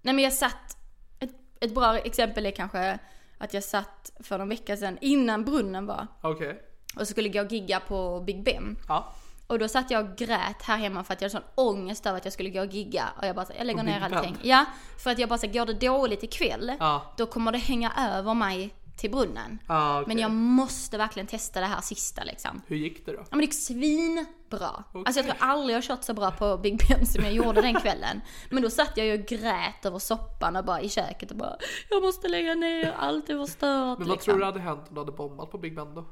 Speaker 4: nej men jag satt... Ett, ett bra exempel är kanske att jag satt för någon vecka sedan innan brunnen var.
Speaker 3: Okej.
Speaker 4: Och skulle gå och gigga på Big Ben.
Speaker 3: Ja.
Speaker 4: Och då satt jag och grät här hemma för att jag hade sån ångest över att jag skulle gå och gigga. Och jag bara så, jag lägger
Speaker 3: Och
Speaker 4: ner
Speaker 3: Big Ben.
Speaker 4: allting. Ja, för att jag bara så, går det dåligt ikväll,
Speaker 3: Ja.
Speaker 4: då kommer det hänga över mig till brunnen.
Speaker 3: Ja, okej.
Speaker 4: Men jag måste verkligen testa det här sista liksom.
Speaker 3: Hur gick det då?
Speaker 4: Ja men det gick svinbra. Alltså jag tror aldrig jag har kört så bra på Big Ben som jag gjorde den kvällen. Men då satt jag ju och grät över soppan och bara i köket och bara Jag måste lägga ner, allt är förstört
Speaker 3: Men vad tror du hade hänt om du hade bombat på Big Ben då?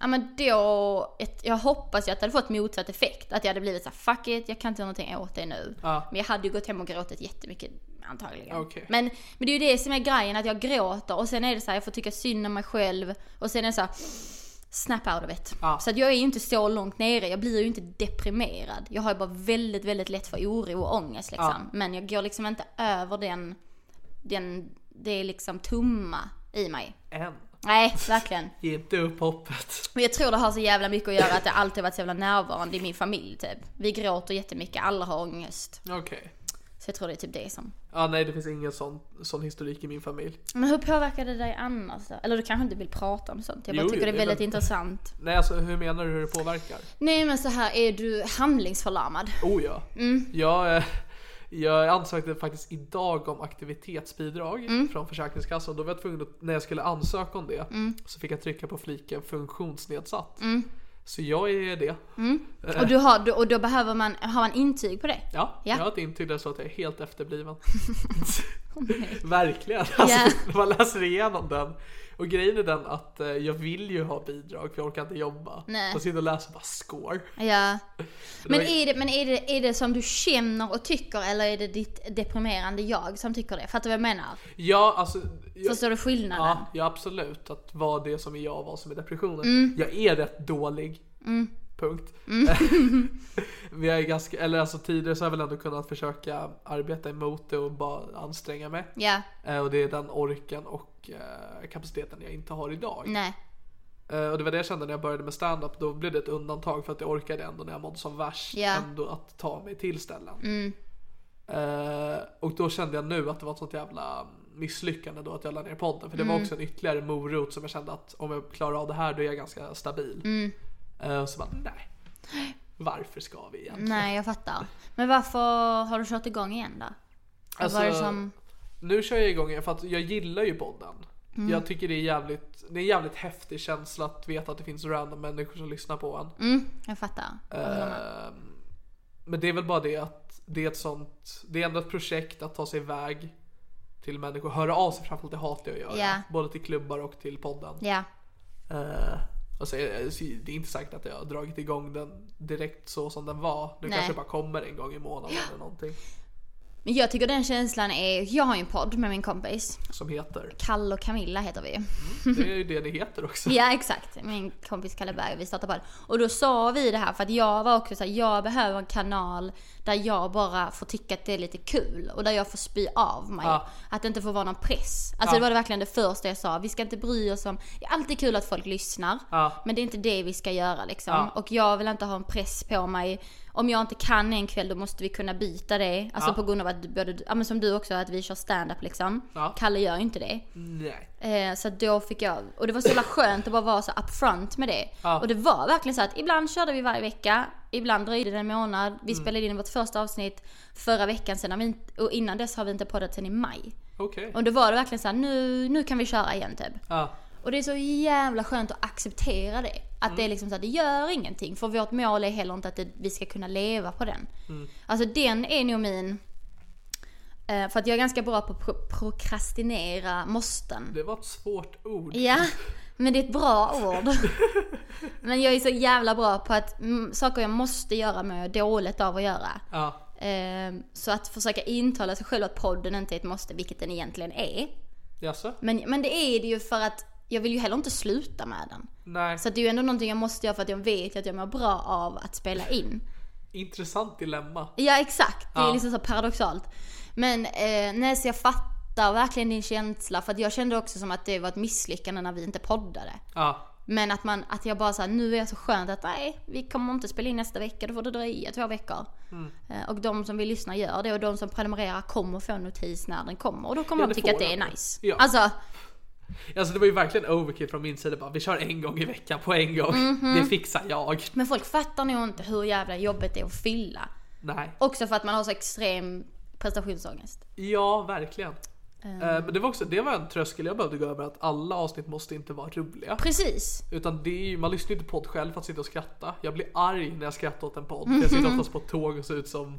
Speaker 4: Ja men då, ett, jag hoppas ju att det hade fått motsatt effekt. Att jag hade blivit så här, fuck it, jag kan inte göra någonting åt det nu.
Speaker 3: Ja.
Speaker 4: Men jag hade ju gått hem och gråtit jättemycket antagligen.
Speaker 3: Okej.
Speaker 4: Men, men det är ju det som är grejen, att jag gråter och sen är det så här, jag får tycka synd om mig själv. Och sen är det så här, snap out of it.
Speaker 3: Ja.
Speaker 4: Så att jag är ju inte så långt nere, jag blir ju inte deprimerad. Jag har ju bara väldigt, väldigt lätt för oro och ångest liksom. Men jag går liksom inte över den, den, det är liksom tumma i mig.
Speaker 3: En.
Speaker 4: Nej, verkligen.
Speaker 3: Ge inte upp hoppet.
Speaker 4: Men jag tror det har så jävla mycket att göra att det alltid varit så jävla närvarande i min familj typ. Vi gråter jättemycket, alla har ångest.
Speaker 3: Okej.
Speaker 4: Så jag tror det är typ det som...
Speaker 3: Ja nej det finns ingen sån, sån historik i min familj.
Speaker 4: Men hur påverkar det dig annars då? Eller du kanske inte vill prata om sånt? Jag bara
Speaker 3: Jo,
Speaker 4: tycker det är
Speaker 3: jo,
Speaker 4: väldigt
Speaker 3: men-
Speaker 4: intressant.
Speaker 3: Nej alltså hur menar du hur det påverkar?
Speaker 4: Nej men så här är du handlingsförlamad?
Speaker 3: Oh ja. Jag, eh, jag ansökte faktiskt idag om aktivitetsbidrag från Försäkringskassan. Då var jag tvungen att, när jag skulle ansöka om det så fick jag trycka på fliken funktionsnedsatt. Så jag är det.
Speaker 4: Och, du har, du- och då behöver man, har man intyg på det?
Speaker 3: Eh. Ja,
Speaker 4: Ja.
Speaker 3: jag har ett intyg där så att jag är helt efterbliven.
Speaker 4: nej.
Speaker 3: Verkligen. Alltså,
Speaker 4: Ja.
Speaker 3: När man läser igenom den Och grejen är den att eh, jag vill ju ha bidrag för jag orkar inte jobba.
Speaker 4: Nej.
Speaker 3: Så jag sitter och läser bara score.
Speaker 4: Ja. Men,
Speaker 3: var-
Speaker 4: är det, men är, det, är det som du känner och tycker eller är det ditt deprimerande jag som tycker det? Fattar du vad jag menar?
Speaker 3: Ja, alltså. Jag,
Speaker 4: Förstår du skillnaden?
Speaker 3: ja, ja, absolut. Att vad det som är jag och vad som är depressionen.
Speaker 4: Mm.
Speaker 3: Jag är rätt dålig. Punkt.
Speaker 4: Mm.
Speaker 3: Vi är ganska, eller alltså tidigare så har jag väl ändå kunnat försöka arbeta emot det och bara anstränga mig.
Speaker 4: Ja.
Speaker 3: Eh, Och det är den orken och eh, kapaciteten jag inte har idag.
Speaker 4: Nej.
Speaker 3: Eh, Och det var det jag kände när jag började med stand-up. Då blev det ett undantag för att jag orkade ändå när jag mådde som värst.
Speaker 4: Ja. Mm.
Speaker 3: Ändå att ta mig till ställen. Eh, och då kände jag nu att det var ett sånt jävla misslyckande då att jag la ner podden. För det
Speaker 4: Mm.
Speaker 3: var också en ytterligare morot som jag kände att om jag klarar av det här då är jag ganska stabil.
Speaker 4: Mm.
Speaker 3: Eh, och så bara nej. Varför ska vi egentligen?
Speaker 4: Nej, jag fattar. Men varför har du kört igång igen då? Alltså... Var det som...
Speaker 3: Nu kör jag igång igen för att jag gillar ju podden.
Speaker 4: Mm.
Speaker 3: Jag tycker det är jävligt, det är en jävligt häftig känsla att veta att det finns random människor som lyssnar på en.
Speaker 4: Mm, jag fattar.
Speaker 3: Ehm, men det är väl bara det att det är ett sånt, det är ändå ett projekt att ta sig iväg till människor, höra av sig framförallt det hatar jag att göra.
Speaker 4: Ja.
Speaker 3: Både till klubbar och till podden.
Speaker 4: Ja.
Speaker 3: Eh, alltså, eh, så det är inte säkert att jag har dragit igång den direkt så som den var. Nu
Speaker 4: Nej.
Speaker 3: kanske det bara kommer en gång i månaden eller någonting
Speaker 4: Men jag tycker den känslan är... Jag har ju en podd med min kompis.
Speaker 3: som heter.
Speaker 4: Kalle och Camilla heter vi.
Speaker 3: Det är ju det det heter också.
Speaker 4: Ja exakt, min kompis Kalle Berg, vi startade podd. Och då sa vi det här för att jag var också såhär, jag behöver en kanal där jag bara får tycka att det är lite kul och där jag får spy av mig.
Speaker 3: Ja.
Speaker 4: Att det inte får vara någon press. Alltså
Speaker 3: Ja.
Speaker 4: det var det verkligen det första jag sa, vi ska inte bry oss om, det är alltid kul att folk lyssnar.
Speaker 3: Ja.
Speaker 4: Men det är inte det vi ska göra liksom.
Speaker 3: Ja.
Speaker 4: Och jag vill inte ha en press på mig. Om jag inte kan en kväll då måste vi kunna byta det. Alltså
Speaker 3: Ja.
Speaker 4: på grund av att du- både, du- ja, men som du också, att vi kör stand-up liksom.
Speaker 3: Ja.
Speaker 4: Kalle gör ju inte det.
Speaker 3: Nej.
Speaker 4: Eh, så att då fick jag, och det var så jävla skönt att bara vara så upfront med det.
Speaker 3: Ja.
Speaker 4: Och det var verkligen så att ibland körde vi varje vecka, ibland dröjde det en månad. Vi spelade in vårt första avsnitt förra veckan sen har vi inte, och innan dess har vi inte poddat sen i maj.
Speaker 3: Okej.
Speaker 4: Och då var det verkligen så här, nu, nu kan vi köra igen typ.
Speaker 3: Ja.
Speaker 4: Och det är så jävla skönt att acceptera det. Att det är liksom så att det gör ingenting. För vårt mål är heller inte att det, vi ska kunna leva på den. Alltså den är nog min... eh, För att jag är ganska bra på att pro- prokrastinera måsten.
Speaker 3: Det var ett svårt ord.
Speaker 4: Ja, men det är ett bra ord. Men jag är så jävla bra på att mm, saker jag måste göra mår jag dåligt av att göra.
Speaker 3: Ja.
Speaker 4: Ehm, Så att försöka intala sig själv att podden inte är ett måste, vilket den egentligen är.
Speaker 3: Jaså?
Speaker 4: Men, men det är det ju för att jag vill ju heller inte sluta med den.
Speaker 3: Nej.
Speaker 4: Så att det är ju ändå någonting jag måste göra för att jag vet att jag mår bra av att spela in.
Speaker 3: Intressant dilemma.
Speaker 4: Ja exakt, det är
Speaker 3: Ja.
Speaker 4: liksom så paradoxalt. Men eh, nej så jag fattar verkligen din känsla för att jag kände också som att det var ett misslyckande när vi inte poddade.
Speaker 3: Ja.
Speaker 4: Men att, man, att jag bara såhär, nu är jag så skönt att nej, vi kommer inte spela in nästa vecka, då får det dröja två veckor.
Speaker 3: Mm.
Speaker 4: Eh, Och de som vill lyssna gör det och de som prenumererar kommer få en notis när den kommer och då kommer
Speaker 3: Ja,
Speaker 4: de
Speaker 3: det
Speaker 4: tycka att
Speaker 3: får
Speaker 4: det
Speaker 3: de.
Speaker 4: är nice.
Speaker 3: Ja.
Speaker 4: Alltså,
Speaker 3: Alltså det var ju verkligen overkill från min sida bara, vi kör en gång i veckan på en gång.
Speaker 4: Mhm.
Speaker 3: Det fixar jag.
Speaker 4: men folk fattar nog inte hur jävla jobbigt det är att fylla.
Speaker 3: Nej.
Speaker 4: Också för att man har så extrem prestationsångest.
Speaker 3: Ja, verkligen.
Speaker 4: Ehm.
Speaker 3: Eh, Men det var också, det var en tröskel jag behövde gå över att alla avsnitt måste inte vara roliga.
Speaker 4: Precis.
Speaker 3: Utan det är ju, man lyssnar ju inte på podd själv för att sitta och skratta. Jag blir arg när jag skrattar åt en podd. för Jag sitter oftast på ett tåg och ser ut som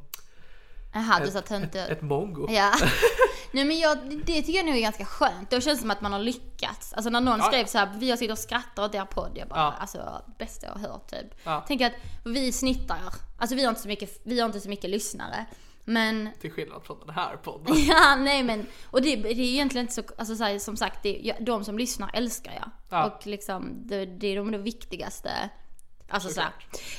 Speaker 4: Jaha, du sa töntig ut.
Speaker 3: ett mongo.
Speaker 4: Ja. Nej men jag, det tycker jag nog är ganska skönt. Då känns det som att man har lyckats. Alltså när någon
Speaker 3: Ja, ja.
Speaker 4: skrev så här, vi har sitter och skrattar åt er podd. Jag bara,
Speaker 3: Ja.
Speaker 4: alltså bästa jag har hört typ.
Speaker 3: Ja.
Speaker 4: Tänk att vi snittar, alltså vi har inte så mycket, vi har inte så mycket lyssnare. Men,
Speaker 3: Till skillnad från den här podden.
Speaker 4: ja nej men, och det, det är egentligen inte så, alltså så här, som sagt, det, jag, de som lyssnar älskar jag.
Speaker 3: Ja.
Speaker 4: Och liksom, det, det är de det viktigaste. Alltså så här.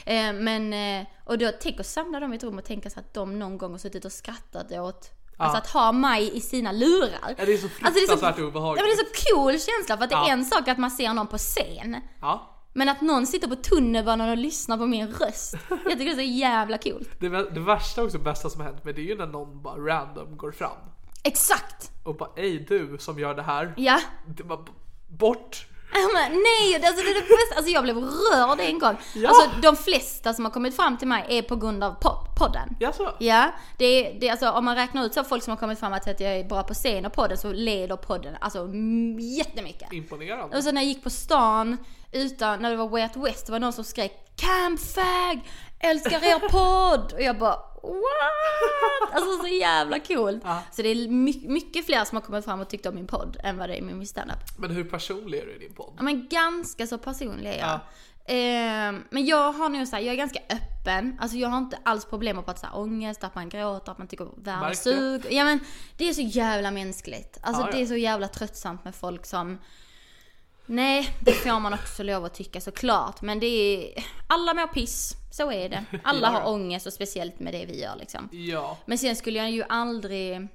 Speaker 4: Eh, men, eh, och då tänk att samla dem i ett rum och tänka sig att de någon gång har suttit och skrattat åt Alltså att ha mig i sina lurar. Alltså,
Speaker 3: Ja, det är så fruktansvärt
Speaker 4: Ja,
Speaker 3: obehagligt.
Speaker 4: men det är så cool känsla för att det
Speaker 3: Ja.
Speaker 4: är en sak att man ser någon på scen.
Speaker 3: Ja.
Speaker 4: Men att någon sitter på tunnelbanan och lyssnar på min röst. Jag tycker det är så jävla coolt.
Speaker 3: Det, vä- det värsta och också bästa som har hänt men det är ju när någon bara random går fram
Speaker 4: Exakt!
Speaker 3: och bara ej du som gör det här.
Speaker 4: Ja.
Speaker 3: Det var b- bort.
Speaker 4: Jag bara, nej, det- alltså, det är det bästa. Alltså jag blev rörd en gång.
Speaker 3: Ja.
Speaker 4: Alltså de flesta som har kommit fram till mig är på grund av po- podden.
Speaker 3: Jaså?
Speaker 4: Ja, det är, det är alltså om man räknar ut så folk som har kommit fram till att jag är bra på scen och podden så leder podden alltså m- jättemycket.
Speaker 3: Mm. Imponerande.
Speaker 4: Och så när jag gick på stan utan, när det var Way Out West, det var någon som skrek Camp fag, älskar er podd! Och jag bara what? Alltså så jävla coolt. Så det är my- mycket fler som har kommit fram och tyckt om min podd än vad det är med min standup.
Speaker 3: Men hur personlig är du i din podd?
Speaker 4: Ja men ganska så personlig är jag. Ehm, men jag har nog såhär, jag är ganska öppen. Alltså jag har inte alls problem med att prata ångest, att man gråter, att man tycker världen är
Speaker 3: Märkte jag.
Speaker 4: sug. Ja men det är så jävla mänskligt. Alltså
Speaker 3: Ja, ja.
Speaker 4: det är så jävla tröttsamt med folk som Nej, det får man också lov att tycka såklart. Men det är... Alla mår piss. Så är det. Alla har ångest och speciellt med det vi gör liksom.
Speaker 3: Ja.
Speaker 4: Men sen skulle jag ju aldrig...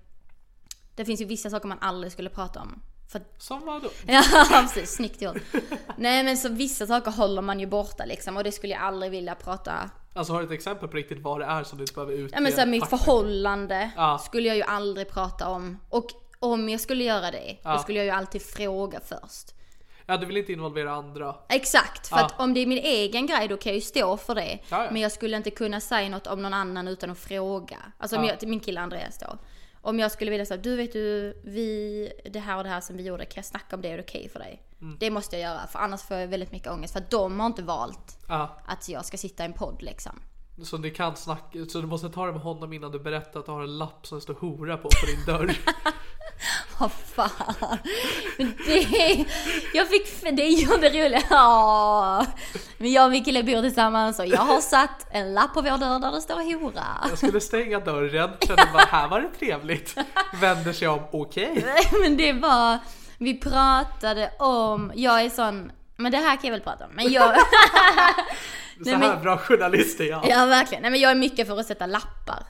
Speaker 4: Det finns ju vissa saker man aldrig skulle prata om. För
Speaker 3: Som vadå?
Speaker 4: Ja precis, snyggt gjort. Nej men så vissa saker håller man ju borta liksom och det skulle jag aldrig vilja prata.
Speaker 3: Alltså har du ett exempel på riktigt vad det är som du inte behöver utge?
Speaker 4: Ja men så här, mitt
Speaker 3: fakta?
Speaker 4: förhållande
Speaker 3: Ja.
Speaker 4: skulle jag ju aldrig prata om. Och om jag skulle göra det, då skulle jag ju alltid fråga först.
Speaker 3: Ja, du vill inte involvera andra.
Speaker 4: Exakt, för att om det är min egen grej då kan jag ju stå för det.
Speaker 3: Ja, ja.
Speaker 4: Men jag skulle inte kunna säga något om någon annan utan att fråga. Alltså om jag, till min kille Andreas då. Om jag skulle vilja säga, du vet du, vi, det här och det här som vi gjorde, kan jag snacka om det? Är det okej för dig?
Speaker 3: Mm.
Speaker 4: Det måste jag göra, för annars får jag väldigt mycket ångest. För att de har inte valt
Speaker 3: Ja,
Speaker 4: att jag ska sitta i en podd liksom.
Speaker 3: så du kan snacka, så du måste ta det med honom innan du berättar att du har en lapp som det står hora på på din dörr.
Speaker 4: Vad fan. Men det, jag fick, det är ju det roliga. Ja. Men jag och min kille bor tillsammans och jag har satt en lapp på vår dörr där det står hora.
Speaker 3: Jag skulle stänga dörren, kände bara här var det trevligt. Vänder sig om, okej.
Speaker 4: Men det var, vi pratade om, jag är sån, men det här kan jag väl prata om. Men jag,
Speaker 3: Så här bra journalist är jag.
Speaker 4: ja verkligen, nej men jag är mycket för att sätta lappar.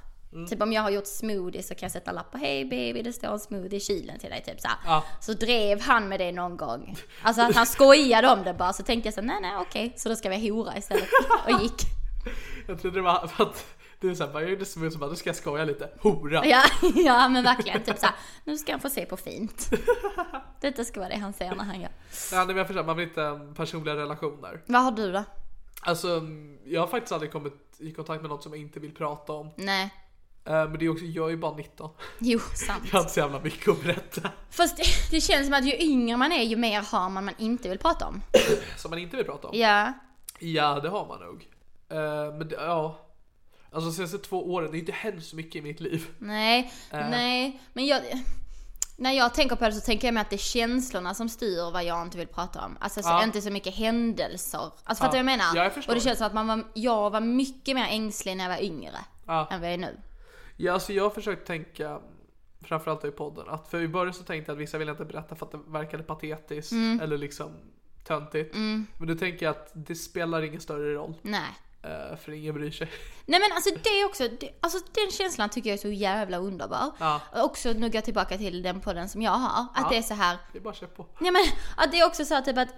Speaker 4: Typ om jag har gjort smoothie så kan jag sätta lappar, hej baby det står en smoothie i kylen till dig typ så här.
Speaker 3: Ja.
Speaker 4: Så drev han med det någon gång. Alltså att han skojade om det bara, så tänkte jag så här, nej nej okej, så då ska vi hora istället. Och gick.
Speaker 3: Jag trodde det var för att du såhär bara, jag gjorde smuts och bara, nu ska jag skoja lite. Hora.
Speaker 4: Ja, ja men verkligen, typ så här, nu ska han få se på fint. Detta ska vara det han säger när han gör.
Speaker 3: Ja, nej, men jag förstår, man vill inte um, personliga relationer.
Speaker 4: Vad har du då?
Speaker 3: Alltså, um, jag har faktiskt aldrig kommit i kontakt med något som jag inte vill prata om. Eh,
Speaker 4: Nej,
Speaker 3: Men det är också, jag är ju bara 19.
Speaker 4: jo sant.
Speaker 3: Jag har inte så jävla mycket att berätta.
Speaker 4: Fast det, det känns som att ju yngre man är ju mer har man man inte vill prata om.
Speaker 3: Som man inte vill prata om.
Speaker 4: Ja.
Speaker 3: Ja, det har man nog. Eh, men det, ja. Alltså de senaste två åren, det har inte hänt så mycket i mitt liv.
Speaker 4: Nej, nej. Men jag... När jag tänker på det så tänker jag mig att det är känslorna som styr vad jag inte vill prata om. Alltså så
Speaker 3: Ja.
Speaker 4: inte så mycket händelser. Alltså fattar du vad jag menar?
Speaker 3: Ja, jag förstår.
Speaker 4: Och det känns som att man var, jag var mycket mer ängslig när jag var yngre.
Speaker 3: Ja.
Speaker 4: Än vad jag är nu.
Speaker 3: Ja, alltså jag har försökt tänka, framförallt i podden, att för i början så tänkte jag att vissa vill jag inte berätta för att det verkade patetiskt eller liksom töntigt. Men nu tänker jag att det spelar ingen större roll,
Speaker 4: Nej.
Speaker 3: eh, för ingen bryr sig.
Speaker 4: Nej men alltså det är också, det, alltså den känslan tycker jag är så jävla underbar.
Speaker 3: Ja.
Speaker 4: Och Också nu går jag tillbaka till den podden som jag har. Att det är så här.
Speaker 3: Det är bara att köra på.
Speaker 4: Nej men att det är också så här typ att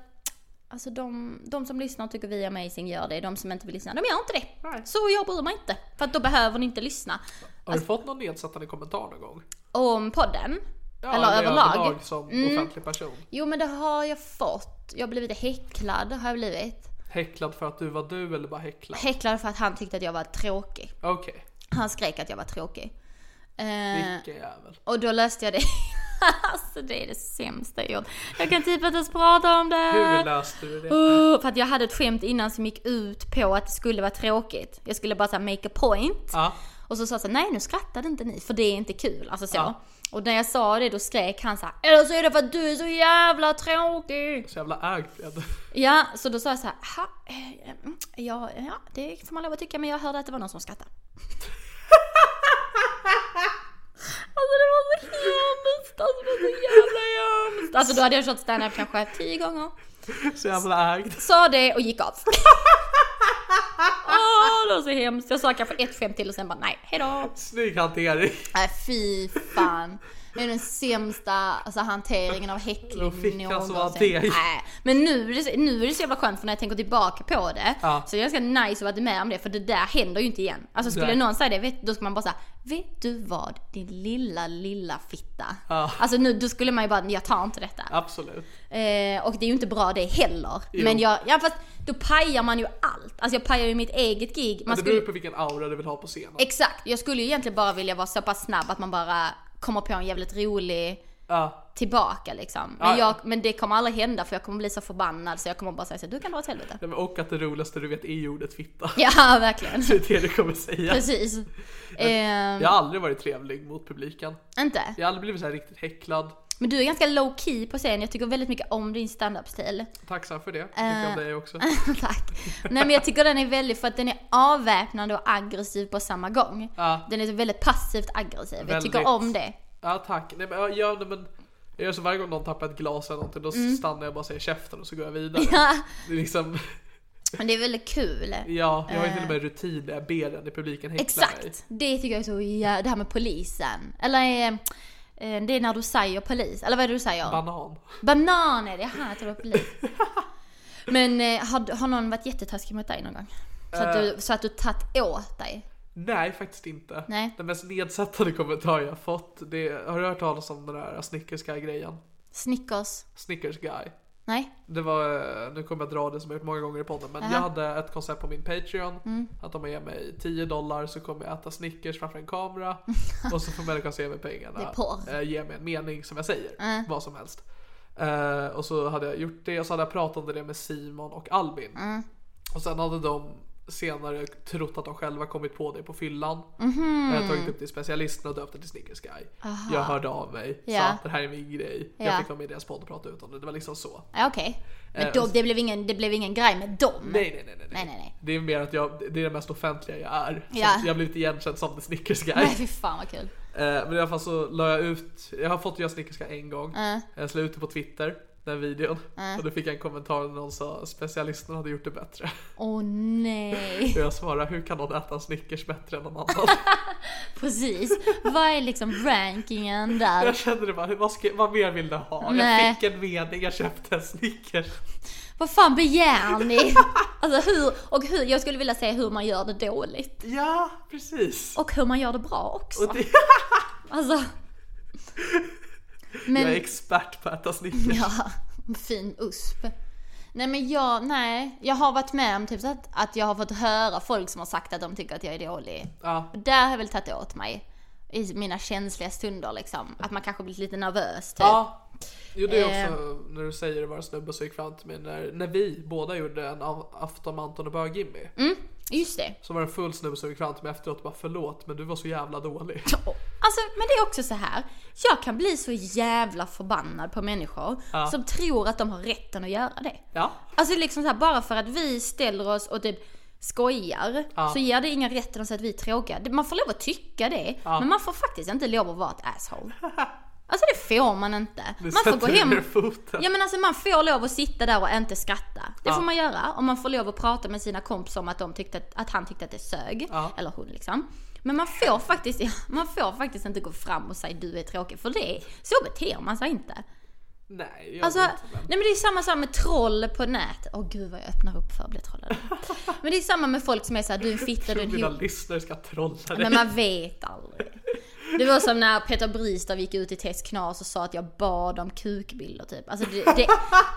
Speaker 4: Alltså de, de som lyssnar och tycker vi är amazing gör det, de som inte vill lyssna de gör inte det.
Speaker 3: Nej.
Speaker 4: Så jag bryr mig inte. För att då behöver ni inte lyssna.
Speaker 3: Har du fått någon nedsättande kommentar någon gång?
Speaker 4: Om podden,
Speaker 3: Ja,
Speaker 4: eller överlag. Mm.
Speaker 3: som offentlig person.
Speaker 4: Jo men det har jag fått. Jag har blivit häcklad, har jag blivit.
Speaker 3: Häcklad för att du var du eller bara häcklad?
Speaker 4: Häcklad för att han tyckte att jag var tråkig.
Speaker 3: Okej,
Speaker 4: Han skrek att jag var tråkig. Eh,
Speaker 3: vilken jävel.
Speaker 4: och då löste jag det. alltså det är det sämsta jag gjort. Jag kan typ inte ens prata om det.
Speaker 3: Hur löste du det?
Speaker 4: Oh, för att jag hade ett skämt innan som gick ut på att det skulle vara tråkigt. Jag skulle bara såhär make a point.
Speaker 3: Ja.
Speaker 4: Och så sa jag så här, nej nu skrattade inte ni för det är inte kul. Alltså så. Och när jag sa det då skrek han så här, eller så är det för att du är så jävla tråkig.
Speaker 3: Så jävla ägd blev du.
Speaker 4: Ja, så då sa jag så här, "Ha, eh, mm, ja, ja det får man lov att tycka men jag hörde att det var någon som skrattade. Alltså det var så hemskt, alltså det var så jävla hemskt. Alltså då hade jag kört stand-up kanske tio gånger.
Speaker 3: Så jävla ägd.
Speaker 4: Sa det och gick av. Åh, det var så hemskt. Jag sa kanske ett skämt till och sen bara nej, hejdå.
Speaker 3: Snygg hantering.
Speaker 4: Nej, Äh, fy fan. Det är den sämsta alltså, hanteringen av
Speaker 3: Då fick
Speaker 4: häckling
Speaker 3: han som var deg.
Speaker 4: Nej, men nu är, det, så- nu är det så jävla skönt för när jag tänker tillbaka på det
Speaker 3: Ja.
Speaker 4: så är det ganska nice att vara med om det för det där händer ju inte igen. Alltså skulle
Speaker 3: Nej.
Speaker 4: någon säga det, vet, då ska man bara säga vet du vad din lilla lilla fitta. Alltså nu, då skulle man ju bara, jag tar inte detta.
Speaker 3: Absolut.
Speaker 4: Eh, och det är ju inte bra det heller. Men jag, ja fast då pajar man ju allt. Alltså jag pajar ju mitt eget gig. Man
Speaker 3: det
Speaker 4: skulle,
Speaker 3: beror på vilken aura du vill ha på scenen.
Speaker 4: exakt, jag skulle ju egentligen bara vilja vara så pass snabb att man bara kommer på en jävligt rolig
Speaker 3: Ja.
Speaker 4: tillbaka liksom.
Speaker 3: Ja,
Speaker 4: Men,
Speaker 3: ja.
Speaker 4: jag, men det kommer aldrig hända för jag kommer bli så förbannad så jag kommer bara säga så här, du kan dra åt helvete.
Speaker 3: Nej, men Och att det roligaste du vet är ordet fitta.
Speaker 4: Ja, verkligen.
Speaker 3: Det är det du kommer säga.
Speaker 4: Precis. Ehm,
Speaker 3: Jag har aldrig varit trevlig mot publiken.
Speaker 4: Inte?
Speaker 3: Jag har aldrig blivit så här riktigt häcklad.
Speaker 4: Men du är ganska low key på scen. Jag tycker väldigt mycket om din standup-stil.
Speaker 3: Tacksam för det. Tycker
Speaker 4: Eh.
Speaker 3: om dig också.
Speaker 4: Tack. Nej men jag tycker den är väldigt, för att den är avväpnande och aggressiv på samma gång.
Speaker 3: Ja.
Speaker 4: Den är väldigt passivt aggressiv. Jag tycker
Speaker 3: Väldigt.
Speaker 4: om det.
Speaker 3: Ja tack. Nej, men, jag, jag, nej, men, jag gör så varje gång någon tappar ett glas eller någonting då
Speaker 4: Mm.
Speaker 3: stannar jag bara och säger käften och så går jag vidare.
Speaker 4: Ja.
Speaker 3: Det är liksom,
Speaker 4: Men det är väldigt kul.
Speaker 3: ja, jag har ju till och med rutin där jag ber den i publiken häckla mig.
Speaker 4: Eh. Exakt! Det tycker jag är så ja, det här med polisen. Eller eh, eh, det är när du säger polis. Eller vad är det du säger?
Speaker 3: Banan.
Speaker 4: Banan är det, jaha jag tror det var polis. Men eh, har, har någon varit jättetaskig mot dig någon gång? Så att
Speaker 3: Eh.
Speaker 4: du, så att du tagit åt dig?
Speaker 3: Nej, faktiskt inte.
Speaker 4: Nej.
Speaker 3: Den mest nedsättande kommentar jag har fått, det är, har du hört talas om den där Snickers guy-grejen?
Speaker 4: Snickers?
Speaker 3: Snickers guy.
Speaker 4: Nej?
Speaker 3: Det var, eh, nu kommer jag dra det som jag gjort många gånger i podden, men jag hade ett koncept på min Patreon.
Speaker 4: Mm.
Speaker 3: Att om man ger mig 10 dollar så kommer jag äta Snickers framför en kamera. och så får människan se mig pengarna.
Speaker 4: Det är porr.
Speaker 3: eh, Ge mig en mening som jag säger. Vad som helst. Eh, och så hade jag gjort det och så hade jag pratat om det med Simon och Albin.
Speaker 4: Mm.
Speaker 3: Och sen hade de senare trott att de själva kommit på det på fyllan.
Speaker 4: Mhm.
Speaker 3: Jag hade tagit upp det till specialisten och döpt det till Snickers guy. Jag hörde av mig,
Speaker 4: Ja.
Speaker 3: sa att det här är min grej.
Speaker 4: Ja.
Speaker 3: Jag fick vara med i deras podd och prata ut om det. Det var liksom så.
Speaker 4: Ja, okej. Men
Speaker 3: Eh,
Speaker 4: då,
Speaker 3: och-
Speaker 4: det, blev ingen, det blev ingen grej med dem?
Speaker 3: Nej nej nej, nej,
Speaker 4: Nej, nej, nej.
Speaker 3: Det är mer att jag, det är det mest offentliga jag är. Så
Speaker 4: Ja.
Speaker 3: Jag har blivit igenkänd som the Snickers guy.
Speaker 4: Nej fy fan vad kul.
Speaker 3: Eh, men i alla fall så la jag ut, jag har fått göra Snickers guy en gång.
Speaker 4: Ja.
Speaker 3: Jag slog ut det på Twitter, den videon. Och då fick jag en kommentar där någon sa specialisten hade gjort det bättre.
Speaker 4: Åh nej.
Speaker 3: Och jag svarade hur kan någon äta en Snickers bättre än någon annan?
Speaker 4: Precis. Vad är liksom rankingen
Speaker 3: jag
Speaker 4: där?
Speaker 3: kände det bara, vad, ska, vad mer vill du ha?
Speaker 4: Nej.
Speaker 3: Jag fick en mening, jag köpte en Snickers.
Speaker 4: Vad fan begär ni? Alltså hur, och hur, jag skulle vilja säga hur man gör det dåligt.
Speaker 3: Ja, precis.
Speaker 4: Och hur man gör det bra också.
Speaker 3: Och det,
Speaker 4: Alltså.
Speaker 3: jag är
Speaker 4: Men,
Speaker 3: expert på att äta Snickers.
Speaker 4: ja, fin USP. Nej men jag, nej. Jag har varit med om typ så att, att jag har fått höra folk som har sagt att de tycker att jag är dålig.
Speaker 3: Ja.
Speaker 4: Och där har jag väl tagit åt mig. I mina känsliga stunder liksom. Att man kanske blivit lite nervös typ.
Speaker 3: Ja. Jo det är också
Speaker 4: Eh.
Speaker 3: när du säger det var en snubbe som gick fram till mig när, när vi båda gjorde en av- afton med Anton och Bög-Jimmy.
Speaker 4: Mm. Just det.
Speaker 3: Så var det en full snubbe som gick fram till mig efteråt och bara förlåt men du var så jävla dålig.
Speaker 4: Alltså, men det är också så här. Jag kan bli så jävla förbannad på människor som tror att de har rätten att göra det.
Speaker 3: Ja.
Speaker 4: Alltså liksom så här, bara för att vi ställer oss och typ skojar så ger det ingen rätten att säga att vi är tråkiga. Det- Man får lov att tycka det, men man får faktiskt inte lov att vara ett asshole. Alltså det får man inte.
Speaker 3: Nu
Speaker 4: Man får gå
Speaker 3: sätter du ner
Speaker 4: hem.
Speaker 3: foten.
Speaker 4: Ja men alltså man får lov att sitta där och inte skratta. Det får man göra. Och man får lov att prata med sina kompisar om att, de tyckte att, att han tyckte att det sög. Eller hon liksom. Men man får, faktiskt, ja, man får faktiskt inte gå fram och säga du är tråkig. För det, så beter man sig inte.
Speaker 3: Nej, jag
Speaker 4: Alltså,
Speaker 3: vet
Speaker 4: nej
Speaker 3: inte, men-
Speaker 4: men det är samma sak med troll på nätet. Åh gud vad jag öppnar upp för att bli trollad. Men det är samma med folk som är såhär, du är en fitta, du är en
Speaker 3: Mina
Speaker 4: hora.
Speaker 3: lyssnare ska trolla dig.
Speaker 4: Men man vet aldrig. Det var som när Peter Bristav gick ut i Tess Knas och sa att jag bad om kukbilder typ. Alltså det, det,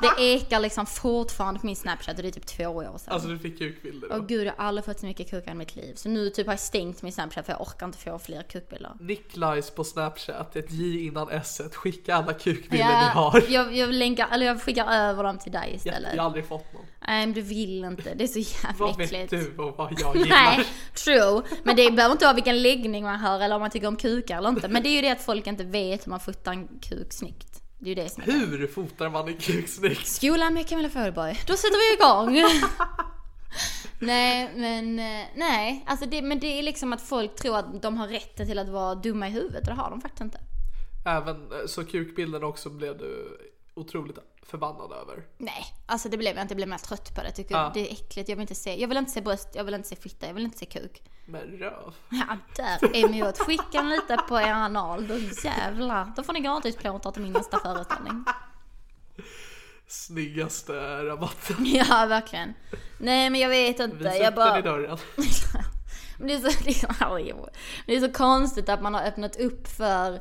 Speaker 4: det ekar liksom fortfarande på min snapchat och det är typ två år sedan.
Speaker 3: Alltså du fick kukbilder.
Speaker 4: Åh gud jag har aldrig fått så mycket kukar i mitt liv. Så nu typ har jag stängt min snapchat för jag orkar inte få fler kukbilder.
Speaker 3: Niklajs på snapchat, ett J innan S. Skicka alla kukbilder ni
Speaker 4: Jag,
Speaker 3: har.
Speaker 4: jag, jag, länkar, eller jag skickar över dem till dig
Speaker 3: Jag,
Speaker 4: istället.
Speaker 3: jag har aldrig fått någon.
Speaker 4: Nej men du vill inte, det är så jävla
Speaker 3: Vad vet
Speaker 4: äckligt.
Speaker 3: du om vad jag gillar?
Speaker 4: Nej, true. Men det behöver inte vara vilken läggning man har eller om man tycker om kukar eller inte. Men det är ju det att folk inte vet hur man fotar en kuk snyggt. Det är ju det som är
Speaker 3: Hur fotar man en kuk snyggt?
Speaker 4: Skolan med Camilla Fogelborg. Då sätter vi igång. nej, men eh, nej. Alltså det, men det är liksom att folk tror att de har rätten till att vara dumma i huvudet och det har de faktiskt inte.
Speaker 3: Även eh, så kukbilden också blev du otroligt förbannad över.
Speaker 4: Nej, alltså det blev jag inte. Jag blev mer trött på det. Tycker jag. Det är äckligt. Jag vill inte se, jag vill inte se bröst, jag vill inte se fitta, jag vill inte se kuk.
Speaker 3: Men röv.
Speaker 4: Ja, där emot. Skicka en lite på er anal. Då jävlar. Då får ni gratisplåtar till min nästa föreställning.
Speaker 3: Snyggaste rabatten.
Speaker 4: Ja, verkligen. Nej, men jag vet inte.
Speaker 3: Vi
Speaker 4: jag
Speaker 3: sätter
Speaker 4: bara...
Speaker 3: i dörren.
Speaker 4: Men det, är så, det, är, jo. det är så konstigt att man har öppnat upp för...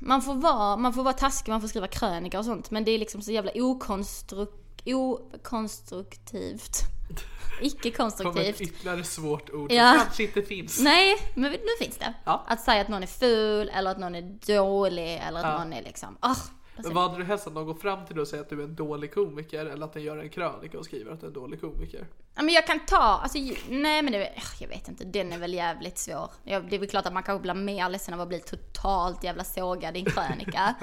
Speaker 4: Man får vara, man får vara taskig, man får skriva krönikor och sånt. Men det är liksom så jävla okonstruk, okonstruktivt.
Speaker 3: Kommer
Speaker 4: Icke
Speaker 3: ett
Speaker 4: konstruktivt.
Speaker 3: ytterligare svårt ord
Speaker 4: Ja.
Speaker 3: som kanske inte finns.
Speaker 4: Nej, men nu finns det.
Speaker 3: Ja.
Speaker 4: Att säga att någon är ful eller att någon är dålig eller att
Speaker 3: Ja.
Speaker 4: någon är liksom... ah
Speaker 3: Men vad hade du helst att någon går fram till dig och säger att du är en dålig komiker eller att den gör en krönika och skriver att du är en dålig komiker?
Speaker 4: Ja, men jag kan ta, alltså ju- nej men det, ugh, jag vet inte, den är väl jävligt svår. Ja, det är väl klart att man kanske blir mer ledsen av att bli totalt jävla sågad i en krönika.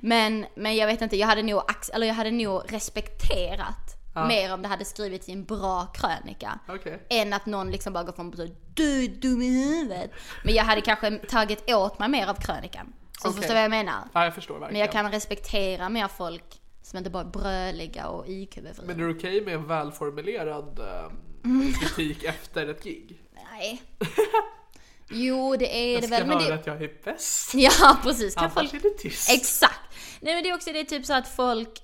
Speaker 4: men, men jag vet inte, jag hade nog, ax- eller jag hade nog respekterat mer om det hade skrivits i en bra krönika.
Speaker 3: Okej.
Speaker 4: Än att någon liksom bara går fram och säger du är dum i huvudet. Men jag hade kanske tagit åt mig mer av krönikan. Så du
Speaker 3: Okej.
Speaker 4: förstår vad jag menar.
Speaker 3: Ja, jag förstår verkligen.
Speaker 4: Men jag kan respektera mer folk som inte bara är bröliga och IQ befriade.
Speaker 3: Men är det okej med en välformulerad
Speaker 4: Mm.
Speaker 3: ehm, kritik efter ett gig?
Speaker 4: Nej. Jo, det är
Speaker 3: Jag
Speaker 4: det
Speaker 3: ska
Speaker 4: väl. Men
Speaker 3: höra
Speaker 4: det...
Speaker 3: att jag är bäst.
Speaker 4: Ja, precis. Kan
Speaker 3: Annars
Speaker 4: folk...
Speaker 3: är det tyst.
Speaker 4: Exakt. Nej, men det är också det är typ så att folk...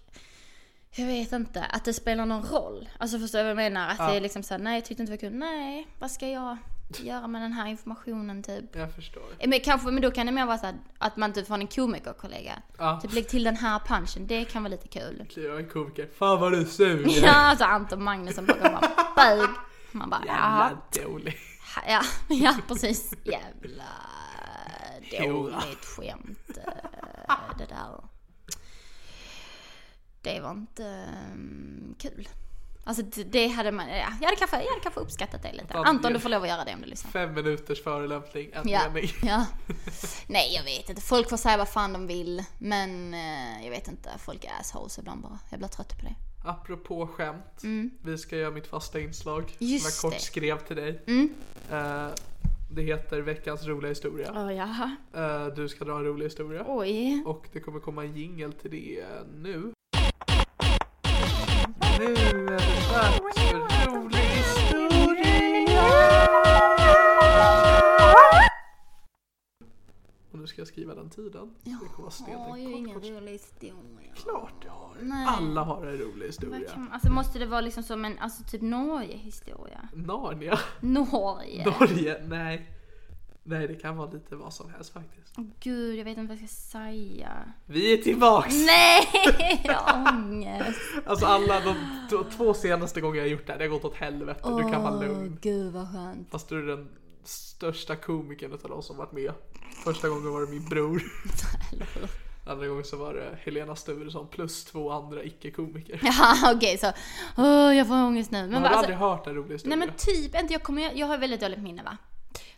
Speaker 4: Jag vet inte, att det spelar någon roll. Alltså förstår du vad jag menar? Att det är liksom såhär, nej jag tyckte inte det var kul. Nej, vad ska jag göra med den här informationen typ?
Speaker 3: jag förstår.
Speaker 4: Men kanske, men då kan det mer vara såhär att man typ får en komikerkollega.
Speaker 3: Ja.
Speaker 4: Typ lägg till den här punchen, det kan vara lite kul.
Speaker 3: Jag är en komiker. Fan vad du suger.
Speaker 4: Ja, alltså Anton Magnusson bakom bara bög. Man bara, jaha.
Speaker 3: Jävla dålig.
Speaker 4: Ja, ja precis. Jävla dåligt skämt. eh, Det där. Det var inte mm, kul. Alltså det- det hade man, ja, jag, hade kanske, jag hade kanske uppskattat det lite.
Speaker 3: Fan,
Speaker 4: Anton du
Speaker 3: det-
Speaker 4: får lov att göra det om du lyssnar.
Speaker 3: Fem minuters förolämpning, en
Speaker 4: Ja,
Speaker 3: mening.
Speaker 4: ja. Nej jag vet inte, folk får säga vad fan de vill. Men eh, jag vet inte, folk är assholes ibland bara. Jag blir trött på det.
Speaker 3: Apropå skämt, vi ska göra mitt fasta inslag som
Speaker 4: Mm. Just
Speaker 3: jag kort
Speaker 4: det. Mm.
Speaker 3: skrev till dig. Eh, det heter veckans roliga historia.
Speaker 4: Oh, jaha.
Speaker 3: Eh, du ska dra en rolig historia.
Speaker 4: Oj.
Speaker 3: Och det kommer komma en jingel till det eh, nu. Nu är det dags för rolig historia! Och nu ska jag skriva den tiden. Det kommer vara
Speaker 4: Jag har ju
Speaker 3: stenkort.
Speaker 4: ingen rolig historia.
Speaker 3: Klart du har!
Speaker 4: Nej.
Speaker 3: Alla har en rolig
Speaker 4: Vad
Speaker 3: historia.
Speaker 4: kan man- Alltså måste det vara liksom som en, alltså typ Norge-historia?
Speaker 3: Narnia?
Speaker 4: Norge?
Speaker 3: Norge? Nej. Nej, det kan vara lite vad som helst faktiskt.
Speaker 4: Mm. Gud, jag vet inte vad jag ska säga.
Speaker 3: Vi är tillbaks!
Speaker 4: Nej, jag har ångest.
Speaker 3: Alltså alla de t- två senaste gånger jag har gjort det här, det har gått åt helvete. du kan vara lugn.
Speaker 4: Gud vad skönt.
Speaker 3: Fast du är den största komikern utav de som varit med. Första gången var det min bror. Andra gången så var det Helena Sturesson plus två andra icke-komiker.
Speaker 4: Ja, okej så. Åh, jag får ångest nu. Men
Speaker 3: Har
Speaker 4: vad-
Speaker 3: du
Speaker 4: alltså,
Speaker 3: aldrig hört en rolig historia?
Speaker 4: nej men typ inte, jag, kommer, jag har väldigt dåligt minne va.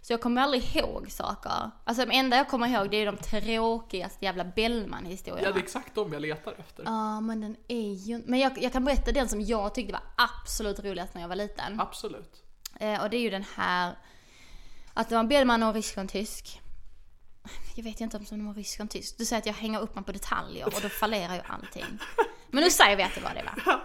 Speaker 4: Så jag kommer aldrig ihåg saker. Alltså det enda jag kommer ihåg det är de tråkigaste jävla Bellman-historierna.
Speaker 3: Ja, det är exakt de jag letar efter.
Speaker 4: Ja, men den är ju... Men jag, jag kan berätta den som jag tyckte var absolut roligast när jag var liten.
Speaker 3: Absolut.
Speaker 4: Eh, och det är ju den här... Att det var en Bellman och en rysk och en tysk. Jag vet ju inte om det var en rysk och en tysk. Du säger att jag hänger upp mig på detaljer och då fallerar ju allting. Men nu säger vi att det var det va?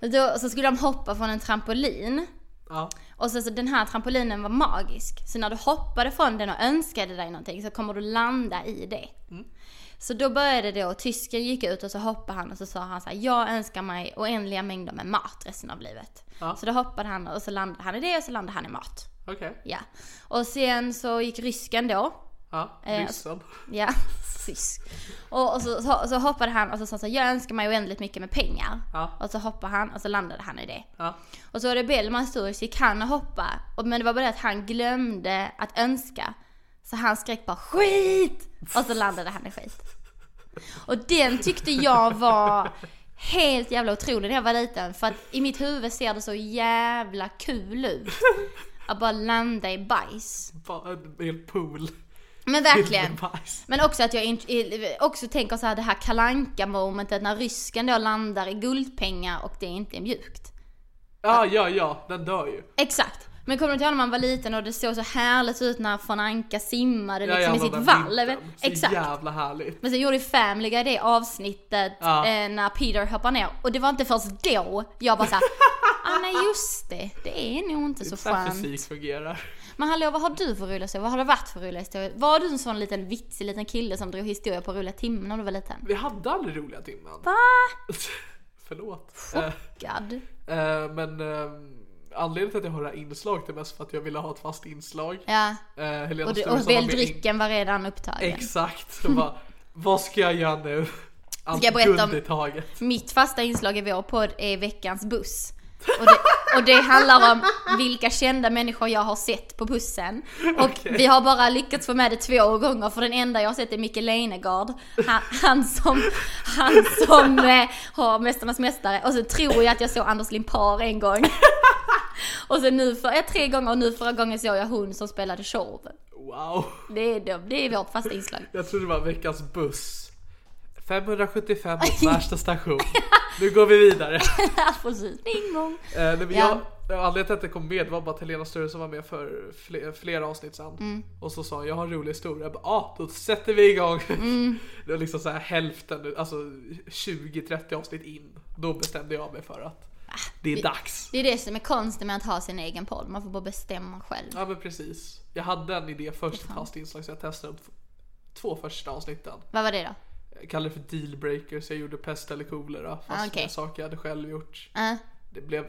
Speaker 4: Då, så skulle de hoppa från en trampolin.
Speaker 3: Ja.
Speaker 4: Och sen så den här trampolinen var magisk. Så när du hoppade från den och önskade dig någonting så kommer du landa i det. Så då började det och tysken gick ut och så hoppade han och så sa han så här, jag önskar mig oändliga mängder med mat resten av livet.
Speaker 3: Ja.
Speaker 4: Så då hoppade han och så landade han i det och så landade han i mat.
Speaker 3: Okej.
Speaker 4: Ja. Och sen så gick rysken då.
Speaker 3: Ja,
Speaker 4: Eh,
Speaker 3: ryssen.
Speaker 4: Ja, rysk. Och, och så, så, så hoppade han och så sa han så här, jag önskar mig oändligt mycket med pengar.
Speaker 3: Ja.
Speaker 4: Och så hoppade han och så landade han i det.
Speaker 3: Ja.
Speaker 4: Och så var det Bellman stor så gick han och hoppa. Och- Men det var bara det att han glömde att önska. Så han skrek bara skit! Och så landade han i skit. Och den tyckte jag var helt jävla otrolig när jag var liten. För att i mitt huvud ser det så jävla kul ut. Att bara landa i bajs.
Speaker 3: Bara en hel pool.
Speaker 4: Men verkligen.
Speaker 3: Med bajs.
Speaker 4: Men också att jag int- i- också tänker så här det här kalanka momentet när rysken då landar i guldpengar och det inte är mjukt.
Speaker 3: Ja, ja, ja. Den dör ju.
Speaker 4: Exakt. Men kommer du inte ihåg när man var liten och det såg så härligt ut när von Anka simmade
Speaker 3: Ja,
Speaker 4: liksom i
Speaker 3: jävlar,
Speaker 4: sitt
Speaker 3: den
Speaker 4: valv?
Speaker 3: vintern. Så
Speaker 4: Exakt.
Speaker 3: jävla härligt.
Speaker 4: Men sen gjorde ju Family Guy det avsnittet
Speaker 3: Ja.
Speaker 4: eh, när Peter hoppar ner och det var inte först då jag bara såhär, ah nej just det, det är nog inte så
Speaker 3: Så här
Speaker 4: skönt.
Speaker 3: fysik fungerar.
Speaker 4: Men hallå, vad har du för roliga historier? Vad har det varit för roliga historier? Var du en sån liten vitsig liten kille som drog historia på roliga timmen när du var liten?
Speaker 3: Vi hade aldrig roliga timmen.
Speaker 4: Va?
Speaker 3: Förlåt. Eh,
Speaker 4: Chockad.
Speaker 3: Eh, men eh, anledningen till att jag har det här inslaget är mest för att jag ville ha ett fast inslag.
Speaker 4: Ja.
Speaker 3: Eh, Helena
Speaker 4: Och, du,
Speaker 3: Sturesson
Speaker 4: och
Speaker 3: var med in-
Speaker 4: väldrycken var redan upptagen.
Speaker 3: Exakt. Så bara, vad ska jag göra nu? Allt
Speaker 4: jag berätta om-
Speaker 3: guld i taget.
Speaker 4: Mitt fasta inslag i vår podd är veckans buss. Och det, och det handlar om vilka kända människor jag har sett på bussen. Och vi har bara lyckats få med det två gånger för den enda jag har sett är Micke Leijnegard. Han, han som, han som eh, har Mästarnas Mästare. Och så tror jag att jag såg Anders Limpar en gång. Och sen nu för, eh, tre gånger och nu förra gången såg jag hon som spelade Tjorven.
Speaker 3: Wow.
Speaker 4: Det är, de, det är vårt fasta inslag.
Speaker 3: Jag trodde det var veckans buss. 575 mot värsta station. Nu går vi vidare.
Speaker 4: Precis, ding dong.
Speaker 3: Eh, nej, men
Speaker 4: Ja.
Speaker 3: jag, anledningen till att det kom med var bara att Helena Sture som var med för fler, flera avsnitt sedan. Och så sa hon, jag har en rolig historia. Jag bara, ah, då sätter vi igång. Det var liksom så här hälften, alltså 20-30 avsnitt in. Då bestämde jag mig för att det är dags.
Speaker 4: Det är det som är konsten med att ha sin egen podd. Man får bara bestämma själv.
Speaker 3: Ja men precis. Jag hade en idé först, ett fast inslag så jag testade de f- två första avsnitten.
Speaker 4: Vad var det då?
Speaker 3: Jag kallade det för dealbreakers, jag gjorde pest eller kolera. Fast
Speaker 4: Ah, okej.
Speaker 3: med saker jag hade själv gjort.
Speaker 4: Eh,
Speaker 3: Det blev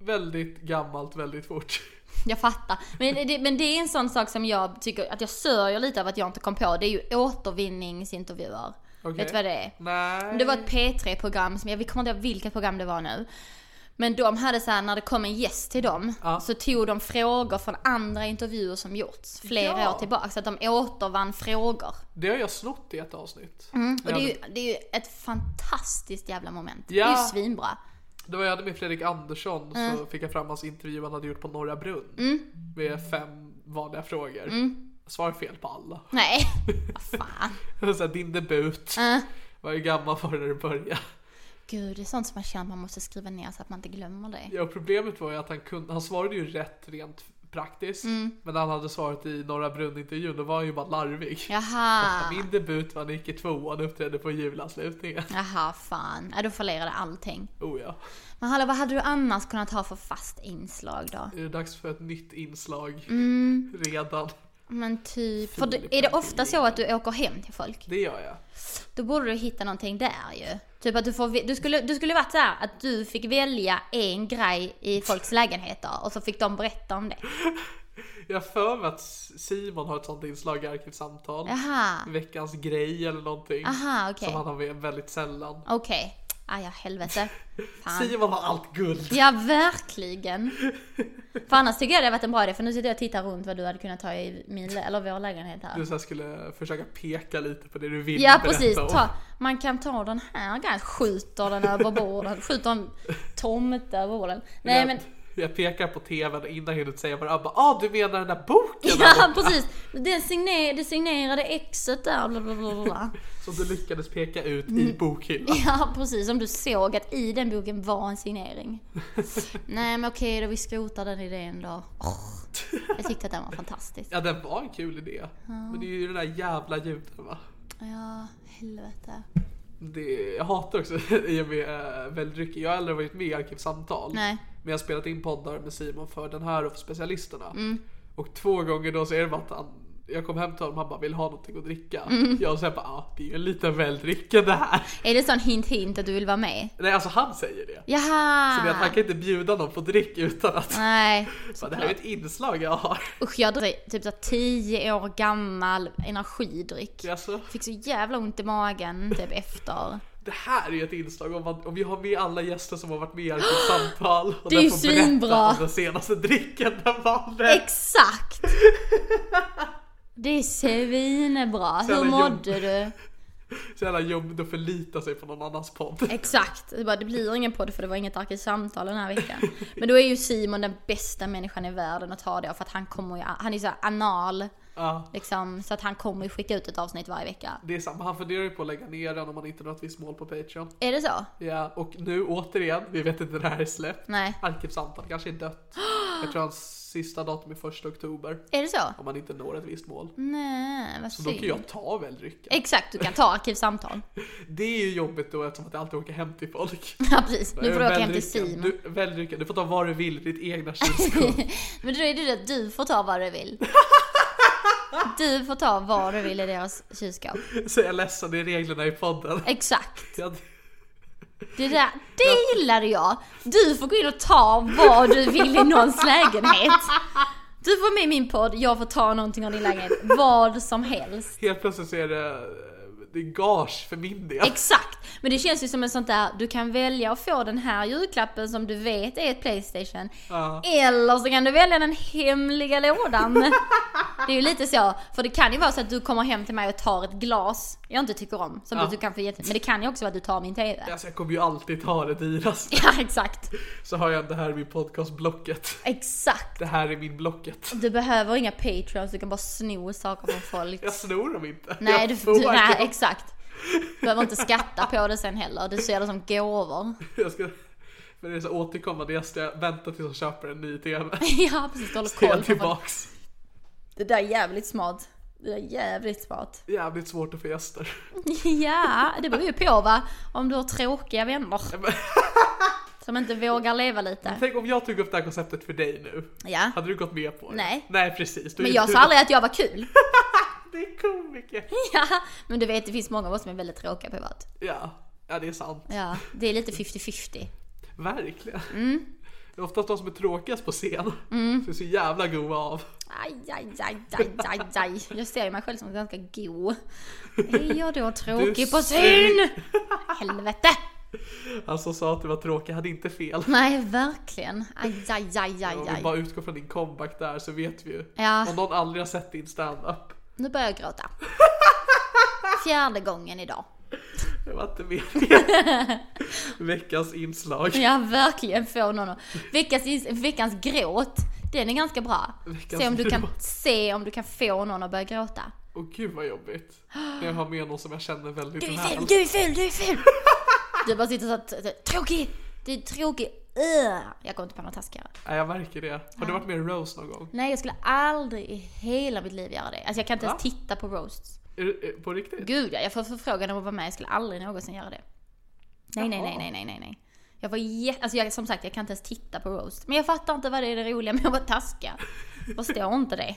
Speaker 3: väldigt gammalt väldigt fort.
Speaker 4: jag fattar. Men det- det, men det är en sån sak som jag tycker att jag sörjer lite av att jag inte kom på. Det är ju återvinningsintervjuer.
Speaker 3: Okej.
Speaker 4: Vet du vad det är?
Speaker 3: Nej.
Speaker 4: Det var ett P3-program, som jag vi kommer inte ihåg vilket program det var nu. Men de hade så här, när det kom en gäst till dem
Speaker 3: Ja.
Speaker 4: så tog de frågor från andra intervjuer som gjorts flera
Speaker 3: Ja.
Speaker 4: år tillbaka. Så att de återvann frågor.
Speaker 3: Det har jag snott i ett avsnitt.
Speaker 4: Mm, Och det är,
Speaker 3: jag,
Speaker 4: ju,
Speaker 3: hade,
Speaker 4: det är ju ett fantastiskt jävla moment. Det är
Speaker 3: Ja.
Speaker 4: ju svinbra.
Speaker 3: det var jag hade med Fredrik Andersson
Speaker 4: Mm.
Speaker 3: så fick jag fram hans intervju han hade gjort på Norra Brunn. Med fem vanliga frågor.
Speaker 4: Mm.
Speaker 3: Jag svarade fel på alla.
Speaker 4: Nej, vad fan.
Speaker 3: så här, din debut.
Speaker 4: Ah.
Speaker 3: Var ju gammal var du när du började?
Speaker 4: Gud, det är sånt som man känner att man måste skriva ner så att man inte glömmer det.
Speaker 3: Ja, och problemet var ju att han, kunde, han svarade ju rätt rent praktiskt.
Speaker 4: Mm.
Speaker 3: Men när han hade svarat i Norra Brunn-intervjun då var han ju bara larvig.
Speaker 4: Jaha,
Speaker 3: Min debut var när Nicke tvåan uppträdde på julanslutningen.
Speaker 4: jaha fan. Ja, då fallerade allting.
Speaker 3: Oh ja.
Speaker 4: Men hallå, vad hade du annars kunnat ha för fast inslag då?
Speaker 3: Är det dags för ett nytt inslag?
Speaker 4: Mm.
Speaker 3: Redan.
Speaker 4: Men typ, för det, är det ofta så att du åker hem till folk?
Speaker 3: Det gör jag.
Speaker 4: Då borde du hitta någonting där ju. Typ att du får, ve- du skulle, du skulle varit så här att du fick välja en grej i folks lägenheter och så fick de berätta om det.
Speaker 3: Jag har för mig att Simon har ett sånt inslag i Arkivsamtal.
Speaker 4: Jaha.
Speaker 3: Veckans grej eller någonting.
Speaker 4: Aha, okej.
Speaker 3: Som han har med väldigt sällan.
Speaker 4: Okej. Aj, ja, helvete. Fan.
Speaker 3: Simon har allt guld.
Speaker 4: Ja, verkligen. För annars tycker jag det hade varit en bra idé, för nu sitter jag och tittar runt vad du hade kunnat ta i min, lä- eller vår lägenhet här.
Speaker 3: Du så här skulle försöka peka lite på det du vill
Speaker 4: Ja
Speaker 3: berätta
Speaker 4: precis,
Speaker 3: om.
Speaker 4: ta, man kan ta den här grejen, skjuter den över borden, skjuter en tomte över borden. Nej
Speaker 3: jag,
Speaker 4: men,
Speaker 3: jag pekar på tvn innan jag hinner säga vad det är. Bara, Ah, du menar den där boken?
Speaker 4: ja precis, det, signer, det signerade exet där, bla, bla, bla, bla.
Speaker 3: Som du lyckades peka ut
Speaker 4: Mm.
Speaker 3: i bokhyllan.
Speaker 4: Ja precis, som du såg att i den boken var en signering. Nej men okej då, vi skrotar den idén då. Jag tyckte att den var fantastisk.
Speaker 3: Ja, den var en kul idé. Men det är ju den där jävla ljuden va.
Speaker 4: Ja, helvete.
Speaker 3: Det, jag hatar också i och med äh, väldrycker. Jag har aldrig varit med i Arkivsamtal.
Speaker 4: Nej.
Speaker 3: Men jag har spelat in poddar med Simon för den här och för specialisterna. Och två gånger då så är det bara att han, jag kom hem till honom han bara vill ha någonting att dricka. Jag säger bara ah, det är ju en liten väldricka det här.
Speaker 4: Är det sån hint hint att du vill vara med?
Speaker 3: Nej alltså han säger det. Så det är att han
Speaker 4: Jaha!
Speaker 3: kan inte bjuda någon på dryck utan att
Speaker 4: Nej.
Speaker 3: bara, det här är ett inslag jag har.
Speaker 4: Usch jag dricker typ så här 10 år gammal energidryck.
Speaker 3: Alltså,
Speaker 4: Fick så jävla ont i magen typ efter.
Speaker 3: det här är ju ett inslag om, man, om vi har med alla gäster som har varit med i Arkivsamtal. och
Speaker 4: Det är ju
Speaker 3: de får berätta
Speaker 4: svinbra.
Speaker 3: om Den senaste dricken den valde.
Speaker 4: Exakt! Det är svinbra.
Speaker 3: Så jävla
Speaker 4: Hur
Speaker 3: jobb.
Speaker 4: mådde du?
Speaker 3: Så jävla jobbigt att förlita sig på någon annans podd.
Speaker 4: Exakt. Det, bara, det blir ingen podd för det var inget arkivsamtal den här veckan. Men då är ju Simon den bästa människan i världen att ta det av för att han kommer ju, han är ju så här anal.
Speaker 3: Ja,
Speaker 4: Liksom, så att han kommer ju skicka ut ett avsnitt varje vecka.
Speaker 3: det är samma. Han funderar ju på att lägga ner den om han inte når ett visst mål på Patreon.
Speaker 4: Är det så?
Speaker 3: Ja, och nu återigen, vi vet inte när det här är släppt.
Speaker 4: Nej.
Speaker 3: Arkivsamtal kanske är dött. Jag tror hans sista datum är första oktober.
Speaker 4: Är det så?
Speaker 3: Om han inte når ett visst mål.
Speaker 4: Nej, vad
Speaker 3: Så då
Speaker 4: synd.
Speaker 3: kan jag ta väldrycken.
Speaker 4: Exakt, du kan ta arkivsamtal.
Speaker 3: Det är ju jobbigt då eftersom att jag alltid åker hem till folk.
Speaker 4: Ja precis, nu får du åka hem till
Speaker 3: Väldrycken,
Speaker 4: Simon.
Speaker 3: Du, väldrycken, du får ta vad du vill i ditt egna kylskåp.
Speaker 4: Men då är det ju det att du får ta vad du vill. Du får ta vad du vill i deras kylskåp.
Speaker 3: Så jag är ledsen, det är reglerna i podden.
Speaker 4: Exakt.
Speaker 3: Jag,
Speaker 4: Det där, det gillade jag. Du får gå in och ta vad du vill i någons lägenhet. Du får med i min podd, jag får ta någonting av din lägenhet. Vad som helst.
Speaker 3: helt plötsligt så är det det är gage för min del.
Speaker 4: Exakt! Men det känns ju som en sånt där, du kan välja att få den här julklappen som du vet är ett Playstation.
Speaker 3: Ja.
Speaker 4: Eller så kan du välja den hemliga lådan. det är ju lite så, för det kan ju vara så att du kommer hem till mig och tar ett glas jag inte tycker om. Som
Speaker 3: Ja.
Speaker 4: du kanske egentligen- Men det kan ju också vara att du tar min TV.
Speaker 3: Alltså jag kommer ju alltid ta det dyraste.
Speaker 4: Ja, exakt.
Speaker 3: Så har jag det här i min podcast Blocket.
Speaker 4: Exakt.
Speaker 3: Det här är min Blocket.
Speaker 4: Du behöver inga patreons, du kan bara sno saker från folk.
Speaker 3: Jag snor dem inte.
Speaker 4: Nej,
Speaker 3: jag
Speaker 4: du,
Speaker 3: får
Speaker 4: du, nej
Speaker 3: dem.
Speaker 4: exakt. Du behöver inte skatta på det sen heller, du ser det som gåvor.
Speaker 3: Jag ska... Men det är så återkommande gäster, jag väntar tills de köper en ny TV.
Speaker 4: Ja precis, du håller
Speaker 3: Så är
Speaker 4: koll
Speaker 3: jag
Speaker 4: på folk.
Speaker 3: tillbaks.
Speaker 4: Det där är jävligt smart. Det där är jävligt smart.
Speaker 3: Jävligt svårt att få gäster.
Speaker 4: Ja, det beror ju på va? Om du har tråkiga vänner.
Speaker 3: men-
Speaker 4: Som inte vågar leva lite.
Speaker 3: Tänk om jag tog upp det här konceptet för dig nu.
Speaker 4: Ja.
Speaker 3: Hade du gått med på det?
Speaker 4: Nej.
Speaker 3: Nej precis. Du är
Speaker 4: Men
Speaker 3: ju-
Speaker 4: jag
Speaker 3: du-
Speaker 4: sa aldrig att jag var kul.
Speaker 3: Det är komiker.
Speaker 4: Ja, men du vet det finns många av oss som är väldigt tråkiga privat.
Speaker 3: Ja. ja, det är sant.
Speaker 4: Ja, det är lite 50-50.
Speaker 3: Verkligen. Det är oftast de som är tråkigast på scen. Mm. Så är så jävla goa av.
Speaker 4: Aj, aj, aj, aj, aj, aj. Jag ser ju mig själv som ganska go. Är jag då tråkig
Speaker 3: Du
Speaker 4: på
Speaker 3: ser-
Speaker 4: syn? Helvete!
Speaker 3: Han som sa att du var tråkig hade inte fel.
Speaker 4: Nej, verkligen. Aj, aj, aj, aj,
Speaker 3: Om vi bara
Speaker 4: aj.
Speaker 3: utgår från din comeback där så vet vi ju.
Speaker 4: Ja.
Speaker 3: Om någon aldrig har sett din stand-up.
Speaker 4: Nu börjar jag gråta. Fjärde gången idag.
Speaker 3: Det var inte meningen. Veckans inslag.
Speaker 4: Ja, verkligen få någon att- veckans, veckans gråt, den är ganska bra.
Speaker 3: Veckans
Speaker 4: Se om, du kan,
Speaker 3: gråt.
Speaker 4: se om du kan få någon att börja gråta.
Speaker 3: Åh gud vad jobbigt. När jag har med någon som jag känner väldigt
Speaker 4: Du är
Speaker 3: väl.
Speaker 4: ful, du är ful, du är ful! Du bara sitter såhär, t- t- tråkig, du är tråkig, Ugh. Jag kommer inte på något taskigare.
Speaker 3: Nej, jag märker det. Har du varit med i Rose någon gång?
Speaker 4: Nej, jag skulle aldrig i hela mitt liv göra det. Alltså jag kan inte ens
Speaker 3: Va?
Speaker 4: titta på roasts.
Speaker 3: Är du, är, på riktigt?
Speaker 4: Gud ja, jag får förfrågan om att vara med, jag skulle aldrig någonsin göra det. Nej, nej, nej, nej, nej, nej, nej. Jag var jätte... Alltså jag, som sagt, jag kan inte ens titta på roast. Men jag fattar inte vad det är det roliga med att vara taskig. Jag Förstår inte det.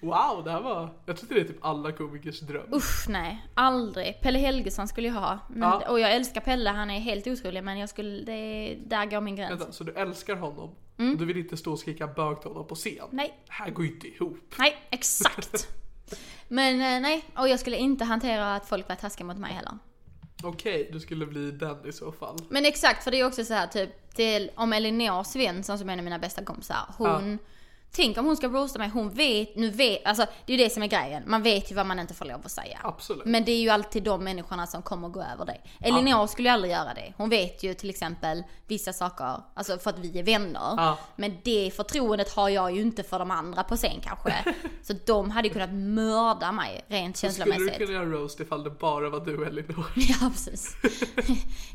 Speaker 3: Wow, det här var... Jag tror inte det är typ alla komikers dröm.
Speaker 4: Usch nej, aldrig. Pelle Helgesson skulle jag ha. Men,
Speaker 3: Ja.
Speaker 4: Och jag älskar Pelle, han är helt otrolig. Men jag skulle, det, där går min gräns.
Speaker 3: Vänta, så du älskar honom? Och du vill inte stå och skrika bög till honom på scen?
Speaker 4: Mm. Nej.
Speaker 3: Det här går ju inte ihop.
Speaker 4: Nej, exakt. men eh, nej, och jag skulle inte hantera att folk var taskiga mot mig heller.
Speaker 3: Okej, du skulle bli den i så fall.
Speaker 4: Men exakt, för det är också så här typ till, om Elinor Svensson som är en av mina bästa kompisar, hon Tänk om hon ska roasta mig, hon vet, nu vet, alltså det är ju det som är grejen. Man vet ju vad man inte får lov att säga.
Speaker 3: Absolut.
Speaker 4: Men det är ju alltid de människorna som kommer gå över det. Elinor skulle ju aldrig göra det. Hon vet ju till exempel vissa saker, alltså för att vi är vänner.
Speaker 3: Ja.
Speaker 4: Men det förtroendet har jag ju inte för de andra på scen kanske. Så de hade ju kunnat mörda mig rent
Speaker 3: Skulle du
Speaker 4: känslomässigt.
Speaker 3: kunna göra roast ifall det bara var du Elinor?
Speaker 4: Ja, precis.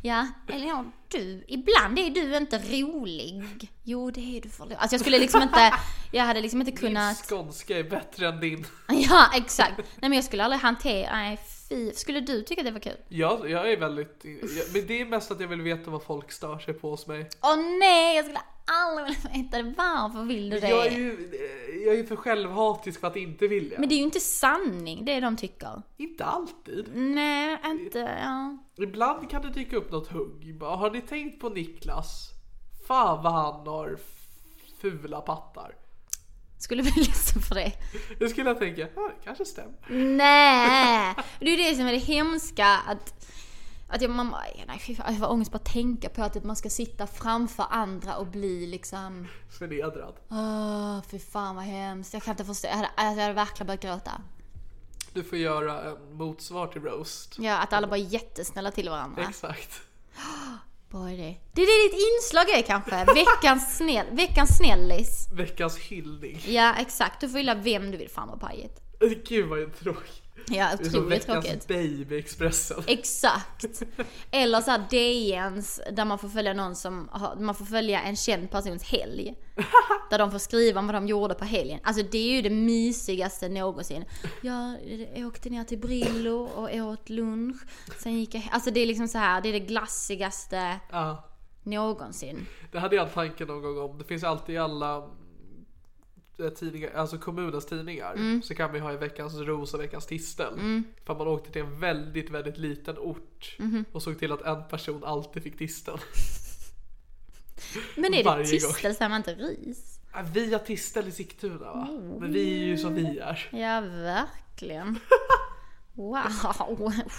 Speaker 4: Ja, eller ja, du, ibland är du inte rolig. Jo, det är du förlåt. Alltså jag skulle liksom inte, jag hade liksom inte kunnat.
Speaker 3: Skånska är bättre än din.
Speaker 4: Ja, exakt. Nej men jag skulle aldrig hantera, nej fy. Skulle du tycka det var kul?
Speaker 3: Jag, jag är väldigt... Jag, men det är mest att jag vill veta vad folk stör sig på hos mig.
Speaker 4: Åh nej, jag skulle aldrig vilja veta det. Varför vill du
Speaker 3: Jag är
Speaker 4: det?
Speaker 3: ju jag är ju för självhatisk för att inte vilja.
Speaker 4: Men det är ju inte sanning, det de tycker.
Speaker 3: Inte alltid.
Speaker 4: Nej, inte, ja.
Speaker 3: Ibland kan det dyka upp något hugg. Bara, Har ni tänkt på Niklas? Fan vad han har fula pattar.
Speaker 4: Skulle bli ledsen för det.
Speaker 3: Då skulle jag tänka, ja det kanske stämmer.
Speaker 4: Nej! Det är ju det som är det hemska att... Att jag, man, aj, nej, fy fan, jag får ångest bara tänka på att typ man ska sitta framför andra och bli liksom...
Speaker 3: Förnedrad.
Speaker 4: Åh, fy fan vad hemskt. Jag kan inte förstå. Jag hade, alltså, jag hade verkligen börjat gråta.
Speaker 3: Du får göra en motsvar till roast.
Speaker 4: Ja, att alla bara är jättesnälla till varandra.
Speaker 3: Exakt.
Speaker 4: Bra idé. Det är det ditt inslag är kanske. Veckans, snäll, veckans snällis.
Speaker 3: Veckans hyllning.
Speaker 4: Ja, exakt. Du får hylla vem du vill. Fan vad pajigt.
Speaker 3: Gud vad tråkigt.
Speaker 4: Ja,
Speaker 3: Det är som
Speaker 4: otroligt tråkigt.
Speaker 3: veckans baby Expressen.
Speaker 4: Exakt. Eller så här DNs där man får följa någon som har, man får följa en känd persons helg. Där de får skriva om vad de gjorde på helgen. Alltså det är ju det mysigaste någonsin. Jag eh, åkte ner till Brillo och åt lunch. Sen gick jag he- Alltså det är liksom så här, det är det glassigaste
Speaker 3: Ja.
Speaker 4: någonsin.
Speaker 3: Det hade jag en tanke någon gång om. Det finns alltid i alla eh, tidningar, alltså kommunens tidningar.
Speaker 4: Mm.
Speaker 3: Så kan vi ha i veckans ros och veckans tistel. För man åkte till en väldigt, väldigt liten ort.
Speaker 4: Mhm.
Speaker 3: Och såg till att en person alltid fick tisteln.
Speaker 4: Men är det
Speaker 3: Varje
Speaker 4: tistel så är man inte ris.
Speaker 3: Ja, Vi har
Speaker 4: Oh.
Speaker 3: tistel i Sigtuna va? Men vi är ju som vi är.
Speaker 4: Ja, verkligen. Wow!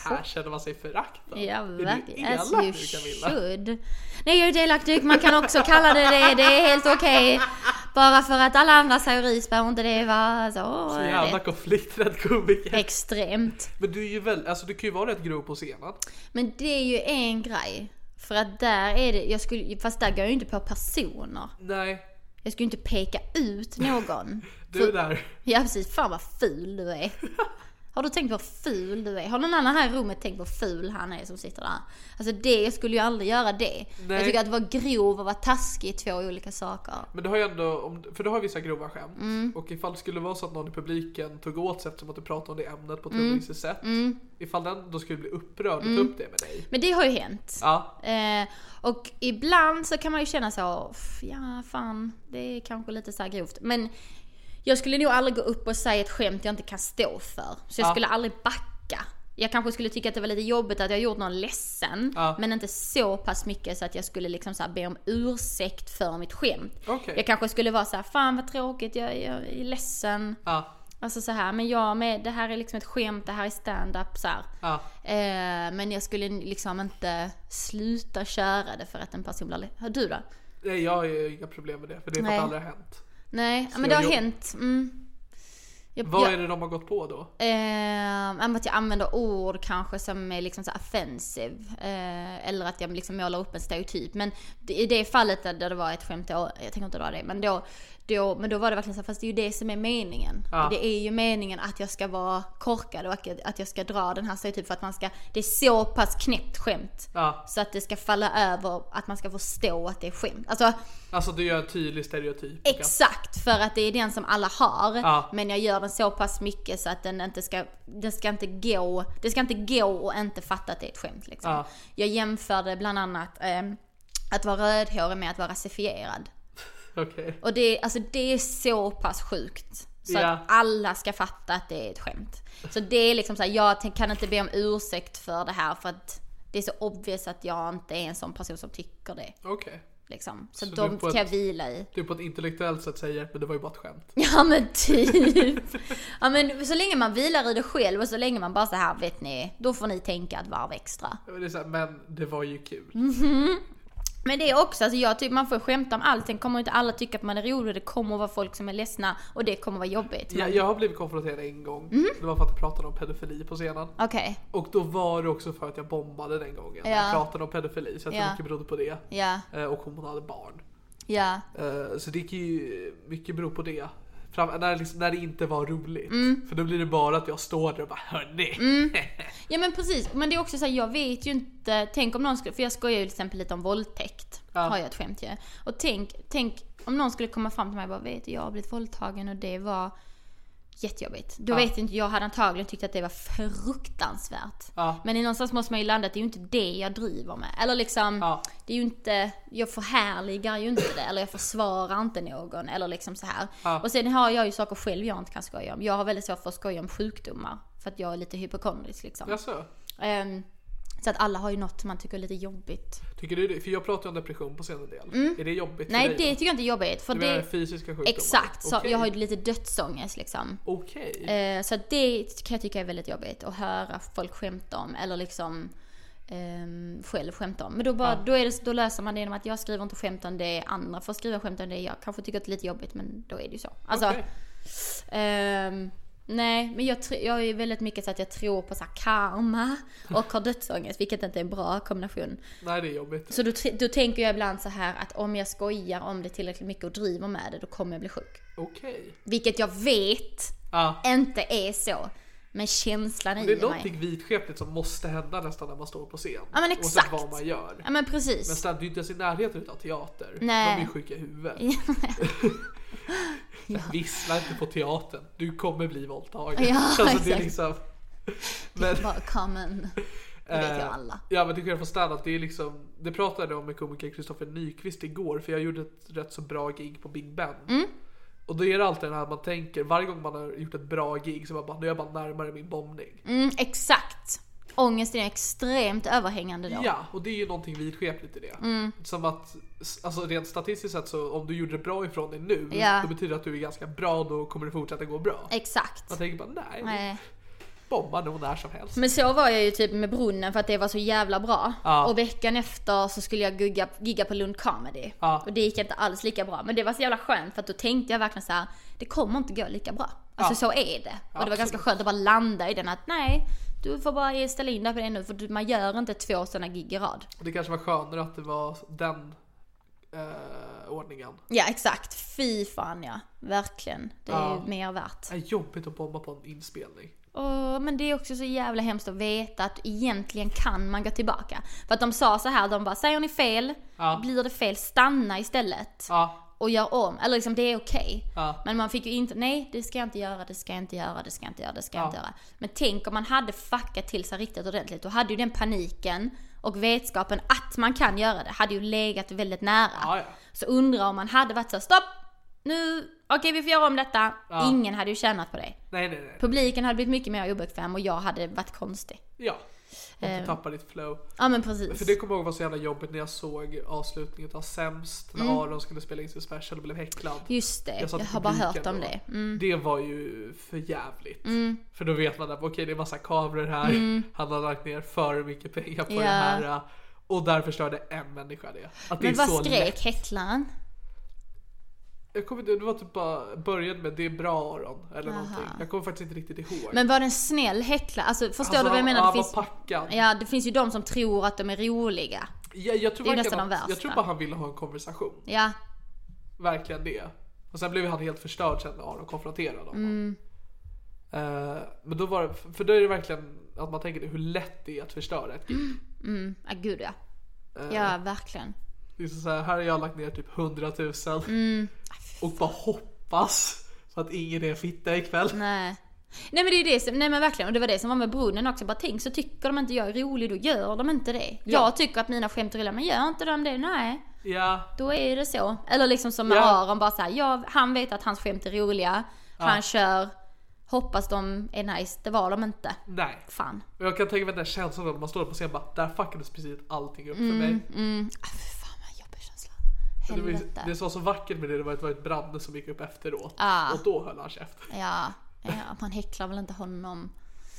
Speaker 3: Här känner man sig föraktad.
Speaker 4: Ja,
Speaker 3: Är du
Speaker 4: verkligen.
Speaker 3: elak
Speaker 4: As
Speaker 3: nu,
Speaker 4: you
Speaker 3: Camilla?
Speaker 4: should. Nej, jag är delaktig. Man kan också kalla det det. Det är helt okej. Bara för att alla andra säger ris behöver inte det vara... Alltså, åh,
Speaker 3: Så
Speaker 4: jag
Speaker 3: jävla
Speaker 4: vet.
Speaker 3: konflikträdd komiker.
Speaker 4: Extremt.
Speaker 3: Men du är ju väl, alltså du kan ju vara rätt grov på scenen.
Speaker 4: Men det är ju en grej. För att där är det... Jag skulle, fast där går jag ju inte på personer.
Speaker 3: Nej,
Speaker 4: Jag skulle ju inte peka ut någon.
Speaker 3: du är där.
Speaker 4: Ja precis, fan vad ful du är. Har du tänkt på hur ful du är? Har någon annan här i rummet tänkt på hur ful han är som sitter där? Alltså det, jag skulle ju aldrig göra det.
Speaker 3: Nej.
Speaker 4: Jag tycker att vara grov och vara taskig är två olika saker.
Speaker 3: Men du har ju ändå, om- för du har ju vissa grova skämt.
Speaker 4: Mm.
Speaker 3: Och ifall det skulle vara så att någon i publiken tog åt sig eftersom att du pratade om det ämnet på ett
Speaker 4: Mm.
Speaker 3: humoristiskt sätt. Ifall den då skulle bli upprörd och ta upp det med dig.
Speaker 4: Men det har ju hänt.
Speaker 3: Ja,
Speaker 4: Eh, och ibland så kan man ju känna så, "Pff, ja fan, det är kanske lite så här grovt. Men jag skulle nog aldrig gå upp och säga ett skämt jag inte kan stå för. Så jag
Speaker 3: Ja.
Speaker 4: skulle aldrig backa. Jag kanske skulle tycka att det var lite jobbigt att jag gjort någon ledsen.
Speaker 3: Ja.
Speaker 4: Men inte så pass mycket så att jag skulle liksom så här be om ursäkt för mitt skämt.
Speaker 3: Okej.
Speaker 4: Jag kanske skulle vara så här, fan vad tråkigt, jag, jag är ledsen.
Speaker 3: ja,
Speaker 4: Alltså så här, men jag med, det här är liksom ett skämt, det här är stand-up så här.
Speaker 3: ja.
Speaker 4: Eh, men jag skulle liksom inte sluta köra det för att en person blir... Har du då?
Speaker 3: Nej jag har ju inga problem med det för det är för att
Speaker 4: Nej.
Speaker 3: det aldrig har hänt.
Speaker 4: Nej,
Speaker 3: Så
Speaker 4: men det har
Speaker 3: jag-
Speaker 4: hänt. Mm. Jag,
Speaker 3: Vad
Speaker 4: jag,
Speaker 3: är det de har gått på då?
Speaker 4: Eh, men att jag använder ord kanske som är liksom så här offensive. Eh, eller att jag liksom målar upp en stereotyp. Men det- i det fallet där där det var ett skämt, jag, jag tänker inte dra det, men då, då, men då var det verkligen så här, fast det är ju det som är meningen.
Speaker 3: Ja.
Speaker 4: Det är ju meningen att jag ska vara korkad och att jag- att jag ska dra den här stereotypen för att man ska, det är så pass knäppt skämt.
Speaker 3: Ja,
Speaker 4: Så att det ska falla över, att man ska förstå att det är skämt. Alltså
Speaker 3: alltså du gör en tydlig stereotyp.
Speaker 4: exakt för att det är den som alla har.
Speaker 3: Ja.
Speaker 4: Men jag gör den så pass mycket så att den inte ska, den ska inte gå, det ska inte gå och inte fatta att det är ett skämt liksom.
Speaker 3: Ja.
Speaker 4: Jag jämförde bland annat eh, att vara rödhårig med att vara rasifierad.
Speaker 3: Okej.
Speaker 4: Och det, alltså det är så pass sjukt. Så
Speaker 3: Ja.
Speaker 4: att alla ska fatta att det är ett skämt. Så det är liksom så här, jag tän- kan inte be om ursäkt för det här för att det är så obvious att jag inte är en sån person som tycker det.
Speaker 3: Okej.
Speaker 4: Liksom. Så,
Speaker 3: Så du
Speaker 4: de
Speaker 3: får
Speaker 4: ska jag
Speaker 3: ett-
Speaker 4: vila i.
Speaker 3: Du Typ på ett intellektuellt sätt säger men det var ju bara ett skämt.
Speaker 4: Ja men typ. ja men så länge man vilar i det själv och så länge man bara så här vet ni, då får ni tänka ett varv extra.
Speaker 3: Men det, är så här, men det var ju kul.
Speaker 4: Mm. Men det är också, alltså jag typ, man får skämta om allt, sen kommer inte alla tycka att man är rolig, det kommer vara folk som är ledsna och det kommer vara jobbigt.
Speaker 3: Jag, jag har blivit konfronterad en gång.
Speaker 4: Mm.
Speaker 3: Det var för att jag pratade om pedofili på scenen.
Speaker 4: Okej,
Speaker 3: Och då var det också för att jag bombade den gången. när Jag
Speaker 4: Ja.
Speaker 3: pratade om pedofili så jag tror
Speaker 4: Ja.
Speaker 3: mycket berodde på det.
Speaker 4: ja,
Speaker 3: Eh, Och hon hade barn.
Speaker 4: ja.
Speaker 3: Eh, Så det gick ju mycket bero på det. Fram, när, liksom, när det inte var roligt.
Speaker 4: Mm.
Speaker 3: För då blir det bara att jag står där och bara hörni.
Speaker 4: Ja men precis, men det är också så här, jag vet ju inte, tänk om någon skulle, för jag skojar ju till exempel lite om våldtäkt. Har jag ett skämt ju. Och tänk, tänk om någon skulle komma fram till mig och bara vet du, jag har blivit våldtagen och det var jättejobbigt. Då vet inte, jag hade antagligen tyckt att det var fruktansvärt.
Speaker 3: Ja.
Speaker 4: Men i någonstans måste man ju landa att det är ju inte det jag driver med. Eller liksom,
Speaker 3: Ja.
Speaker 4: det är ju inte, jag förhärligar ju inte det. Eller jag försvarar inte någon. Eller liksom så här.
Speaker 3: Ja.
Speaker 4: Och sen har jag ju saker själv jag inte kan skoja om. Jag har väldigt svårt för att skoja om sjukdomar. För att jag är lite hypokondrisk liksom.
Speaker 3: Jaså?
Speaker 4: Ehm, så att alla har ju något man tycker är lite jobbigt.
Speaker 3: Tycker du det? För jag pratar ju om depression på scenen en del. Är det jobbigt
Speaker 4: Mm. Nej
Speaker 3: för
Speaker 4: det
Speaker 3: dig?
Speaker 4: tycker jag inte är jobbigt. För
Speaker 3: Du menar
Speaker 4: det,
Speaker 3: fysiska sjukdomar?
Speaker 4: exakt, så
Speaker 3: Okej.
Speaker 4: jag har ju lite dödsångest liksom.
Speaker 3: Okej.
Speaker 4: Eh, så att det kan jag tycka är väldigt jobbigt att höra folk skämta om eller liksom ehm, själv skämta om. Men då, bara, då, är det, då löser man det genom att jag skriver inte skämt om det, andra får skriva skämt om det. Jag kanske tycker att det är lite jobbigt men då är det ju så. Alltså,
Speaker 3: Okej.
Speaker 4: Ehm, nej, men jag, tr- jag är väldigt mycket så att jag tror på så här karma och har dödsångest, vilket inte är en bra kombination.
Speaker 3: Nej det är jobbigt.
Speaker 4: Så då, tr- då tänker jag ibland så här att om jag skojar om det tillräckligt mycket och driver med det, då kommer jag bli sjuk.
Speaker 3: Okej.
Speaker 4: Vilket jag vet
Speaker 3: Ja.
Speaker 4: inte är så. Men känslan
Speaker 3: Det
Speaker 4: i
Speaker 3: är någonting
Speaker 4: mig.
Speaker 3: vidskepligt som måste hända nästan när man står på scen.
Speaker 4: Ja, men
Speaker 3: Oavsett
Speaker 4: exakt.
Speaker 3: vad man gör.
Speaker 4: Ja men
Speaker 3: Men
Speaker 4: precis.
Speaker 3: stand, du är inte ens i närheten utav teater.
Speaker 4: Nej.
Speaker 3: De är ju sjuka i huvudet. Så Vissla inte på teatern. Du kommer bli våldtagen.
Speaker 4: Ja,
Speaker 3: alltså, det är
Speaker 4: exakt.
Speaker 3: liksom... Men,
Speaker 4: Bara common. Det vet ju
Speaker 3: eh,
Speaker 4: alla.
Speaker 3: Ja men till skillnad från standup, det är liksom... Det pratade jag om med komikern Kristoffer Nyqvist igår. För jag gjorde ett rätt så bra gig på Big Ben.
Speaker 4: Mm.
Speaker 3: Och då är det alltid det här man tänker, varje gång man har gjort ett bra gig så man bara, nu är jag bara närmare min bombning.
Speaker 4: Mm, exakt. Ångesten är extremt överhängande då.
Speaker 3: Ja, och det är ju någonting vidskepligt i det. Som att, alltså rent statistiskt sett så om du gjorde det bra ifrån dig nu,
Speaker 4: Ja.
Speaker 3: då betyder det att du är ganska bra och då kommer det fortsätta gå bra.
Speaker 4: Exakt. Eh,
Speaker 3: Man tänker bara nej.
Speaker 4: Nej.
Speaker 3: bombade hon när som helst.
Speaker 4: Men så var jag ju typ med brunnen för att det var så jävla bra.
Speaker 3: Ja.
Speaker 4: Och veckan efter så skulle jag gigga, gigga på Lund Comedy.
Speaker 3: Ja.
Speaker 4: Och det gick inte alls lika bra. Men det var så jävla skönt för att då tänkte jag verkligen så här: det kommer inte gå lika bra. Alltså
Speaker 3: Ja.
Speaker 4: så är det. Och det var
Speaker 3: Absolut.
Speaker 4: ganska skönt att bara landa i den att nej, du får bara ställa in dig på det nu för du- man gör inte två sådana gig i rad.
Speaker 3: Och det kanske var skönare att det var den eh, ordningen.
Speaker 4: Ja exakt, fy fan ja. Verkligen. Det är
Speaker 3: Ja.
Speaker 4: ju mer värt.
Speaker 3: Det är jobbigt att bomba på en inspelning.
Speaker 4: Åh, men det är också så jävla hemskt att veta att egentligen kan man gå tillbaka. För att de sa så här, de bara säger ni fel,
Speaker 3: Ja.
Speaker 4: blir det fel, stanna istället.
Speaker 3: Ja,
Speaker 4: Och gör om, eller liksom det är okej.
Speaker 3: Ja.
Speaker 4: Men man fick ju inte, nej det ska jag inte göra, det ska jag inte göra, det ska jag inte göra, det ska jag
Speaker 3: Ja.
Speaker 4: inte göra. Men tänk om man hade fuckat till sig riktigt ordentligt, då hade ju den paniken och vetskapen att man kan göra det, hade ju legat väldigt nära.
Speaker 3: Ja, ja.
Speaker 4: Så undrar om man hade varit så här, stopp! Nu, okej vi får göra om detta.
Speaker 3: Ja.
Speaker 4: Ingen hade ju tjänat på det.
Speaker 3: nej nej nej.
Speaker 4: Publiken hade blivit mycket mer obekväm och jag hade varit konstig.
Speaker 3: Ja. Och inte tappa ditt flow.
Speaker 4: Ja men
Speaker 3: För
Speaker 4: precis.
Speaker 3: det kommer jag ihåg var så jävla jobbigt när jag såg avslutningen av Sämst när Aron skulle spela in sin special och blev häcklad.
Speaker 4: Just det,
Speaker 3: satt
Speaker 4: jag
Speaker 3: i
Speaker 4: har bara
Speaker 3: publiken
Speaker 4: hört om
Speaker 3: då.
Speaker 4: det. Mm.
Speaker 3: Det var ju för jävligt. För då vet man att okej det är massa kameror här, han har lagt ner för mycket pengar på
Speaker 4: Mm. Ja.
Speaker 3: det här. Och där förstörde en människa det. Att det
Speaker 4: Men
Speaker 3: är så
Speaker 4: vad skrek
Speaker 3: lätt.
Speaker 4: häcklaren?
Speaker 3: Jag kommer inte, det var typ bara började med det är bra Aron eller någonting. Jag kommer faktiskt inte riktigt ihåg.
Speaker 4: Men var det en snäll häcklare? Alltså förstår
Speaker 3: Alltså,
Speaker 4: du vad
Speaker 3: han-
Speaker 4: jag menar?
Speaker 3: han
Speaker 4: det, finns,
Speaker 3: var packad.
Speaker 4: ja, det finns ju de som tror att de är roliga.
Speaker 3: jag, jag, tror
Speaker 4: det
Speaker 3: verkligen
Speaker 4: är ju nästan de
Speaker 3: att, jag tror
Speaker 4: värsta.
Speaker 3: bara han ville ha en konversation.
Speaker 4: Ja,
Speaker 3: Verkligen det. Och sen blev han helt förstörd sen när Aron konfronterade honom.
Speaker 4: Mm.
Speaker 3: Eh, men då var det, för då är det verkligen att man tänker hur lätt det är att förstöra ett gig.
Speaker 4: ah, gud ja.
Speaker 3: Eh.
Speaker 4: Ja, verkligen.
Speaker 3: Det är så här, här har jag lagt ner typ 100 000
Speaker 4: Mm.
Speaker 3: och bara hoppas på att ingen är en fitta ikväll.
Speaker 4: Nej. Nej men det är ju det som, nej men verkligen, och det var det som var med brunnen också. Bara tänk så tycker de inte jag är rolig, då gör de inte det. Jag tycker att mina skämt är roliga, men gör inte de det? Nej.
Speaker 3: Ja,
Speaker 4: Då är det så. Eller liksom som med
Speaker 3: Ja.
Speaker 4: Aron, bara så här, ja, han vet att hans skämt är roliga. Han kör, hoppas de är nice. Det var de inte.
Speaker 3: nej.
Speaker 4: Fan.
Speaker 3: Och jag kan tänka mig den där känslan när man står på scen och bara där fuckades precis allting upp för mig.
Speaker 4: Ah, fy fan vad jobbig känsla.
Speaker 3: Det, var, ju-
Speaker 4: Helvete.
Speaker 3: det som var så vackert med det, det var att det var ett brande som gick upp efteråt.
Speaker 4: Ah.
Speaker 3: Och då höll han käften.
Speaker 4: Ja, ja, man häcklar väl inte honom.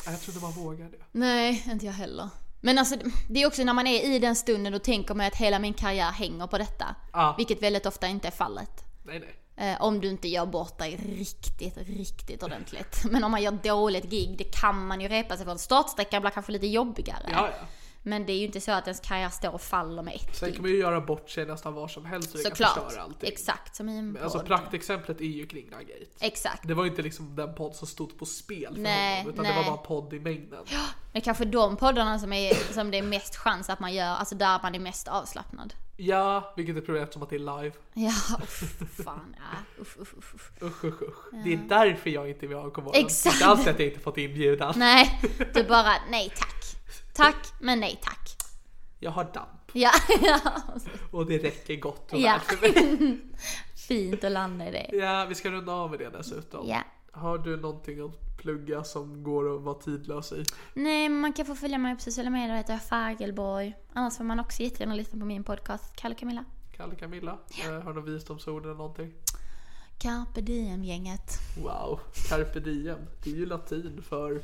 Speaker 3: Nej, Jag trodde man vågade.
Speaker 4: Nej, inte jag heller. Men alltså, det är också när man är i den stunden och tänker man att hela min karriär hänger på detta.
Speaker 3: Ja.
Speaker 4: Vilket väldigt ofta inte är fallet.
Speaker 3: Nej nej.
Speaker 4: Eh, om du inte gör bort dig riktigt, riktigt ordentligt. Men om man gör dåligt gig, det kan man ju repa sig för. Startsträckan blir kanske lite jobbigare.
Speaker 3: Ja, ja.
Speaker 4: Men det är ju inte så att ens karriär står och faller med ett
Speaker 3: Sen kan man ju göra bort sig nästan var som helst och det kan
Speaker 4: Såklart.
Speaker 3: förstöra allting.
Speaker 4: Exakt, som i en
Speaker 3: Men Alltså
Speaker 4: podd.
Speaker 3: praktexemplet är ju Kringlan Gate.
Speaker 4: Exakt.
Speaker 3: Det var ju inte liksom den podd som stod på spel för
Speaker 4: Nej,
Speaker 3: honom utan det
Speaker 4: nej.
Speaker 3: var bara podd i mängden.
Speaker 4: Men kanske de poddarna som, är, som det är mest chans att man gör, alltså där man är mest avslappnad.
Speaker 3: Ja, vilket är problem eftersom att det är live.
Speaker 4: Ja, uff, fan. Ja, uff, uff, uff, uff.
Speaker 3: Usch usch usch. Det är därför jag inte vill ha Alcomorgon.
Speaker 4: Exakt.
Speaker 3: Det är alls att jag inte fått inbjudan.
Speaker 4: Nej, du bara nej tack. Tack, men nej tack.
Speaker 3: Jag har damp
Speaker 4: Ja, ja.
Speaker 3: och det räcker gott och
Speaker 4: Ja.
Speaker 3: väl för mig.
Speaker 4: Fint att landa i det.
Speaker 3: Ja, vi ska runda av med det dessutom.
Speaker 4: Ja.
Speaker 3: Har du någonting att plugga som går att vara tidlös i?
Speaker 4: Nej, men man kan få följa mig på sociala medier, då heter jag Fagelborg. Annars får man också jättegärna lyssna på min podcast, Kalle och Camilla.
Speaker 3: Kalle Camilla, eh, har du något visdomsord eller någonting?
Speaker 4: Carpe diem-gänget.
Speaker 3: Wow, carpe diem. Det är ju latin för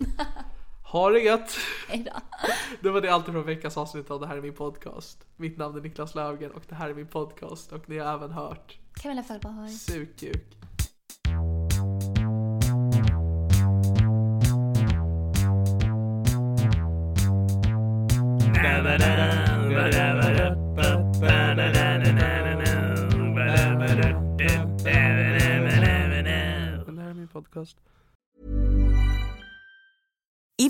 Speaker 3: ha det gött.
Speaker 4: Hej då.
Speaker 3: Det var det allt från veckans avsnitt av Det här är min podcast. Mitt namn är Niklas Löfgren och det här är min podcast och ni har även hört
Speaker 4: Camilla Fagelborg.
Speaker 3: Sukuk. Det här är min podcast.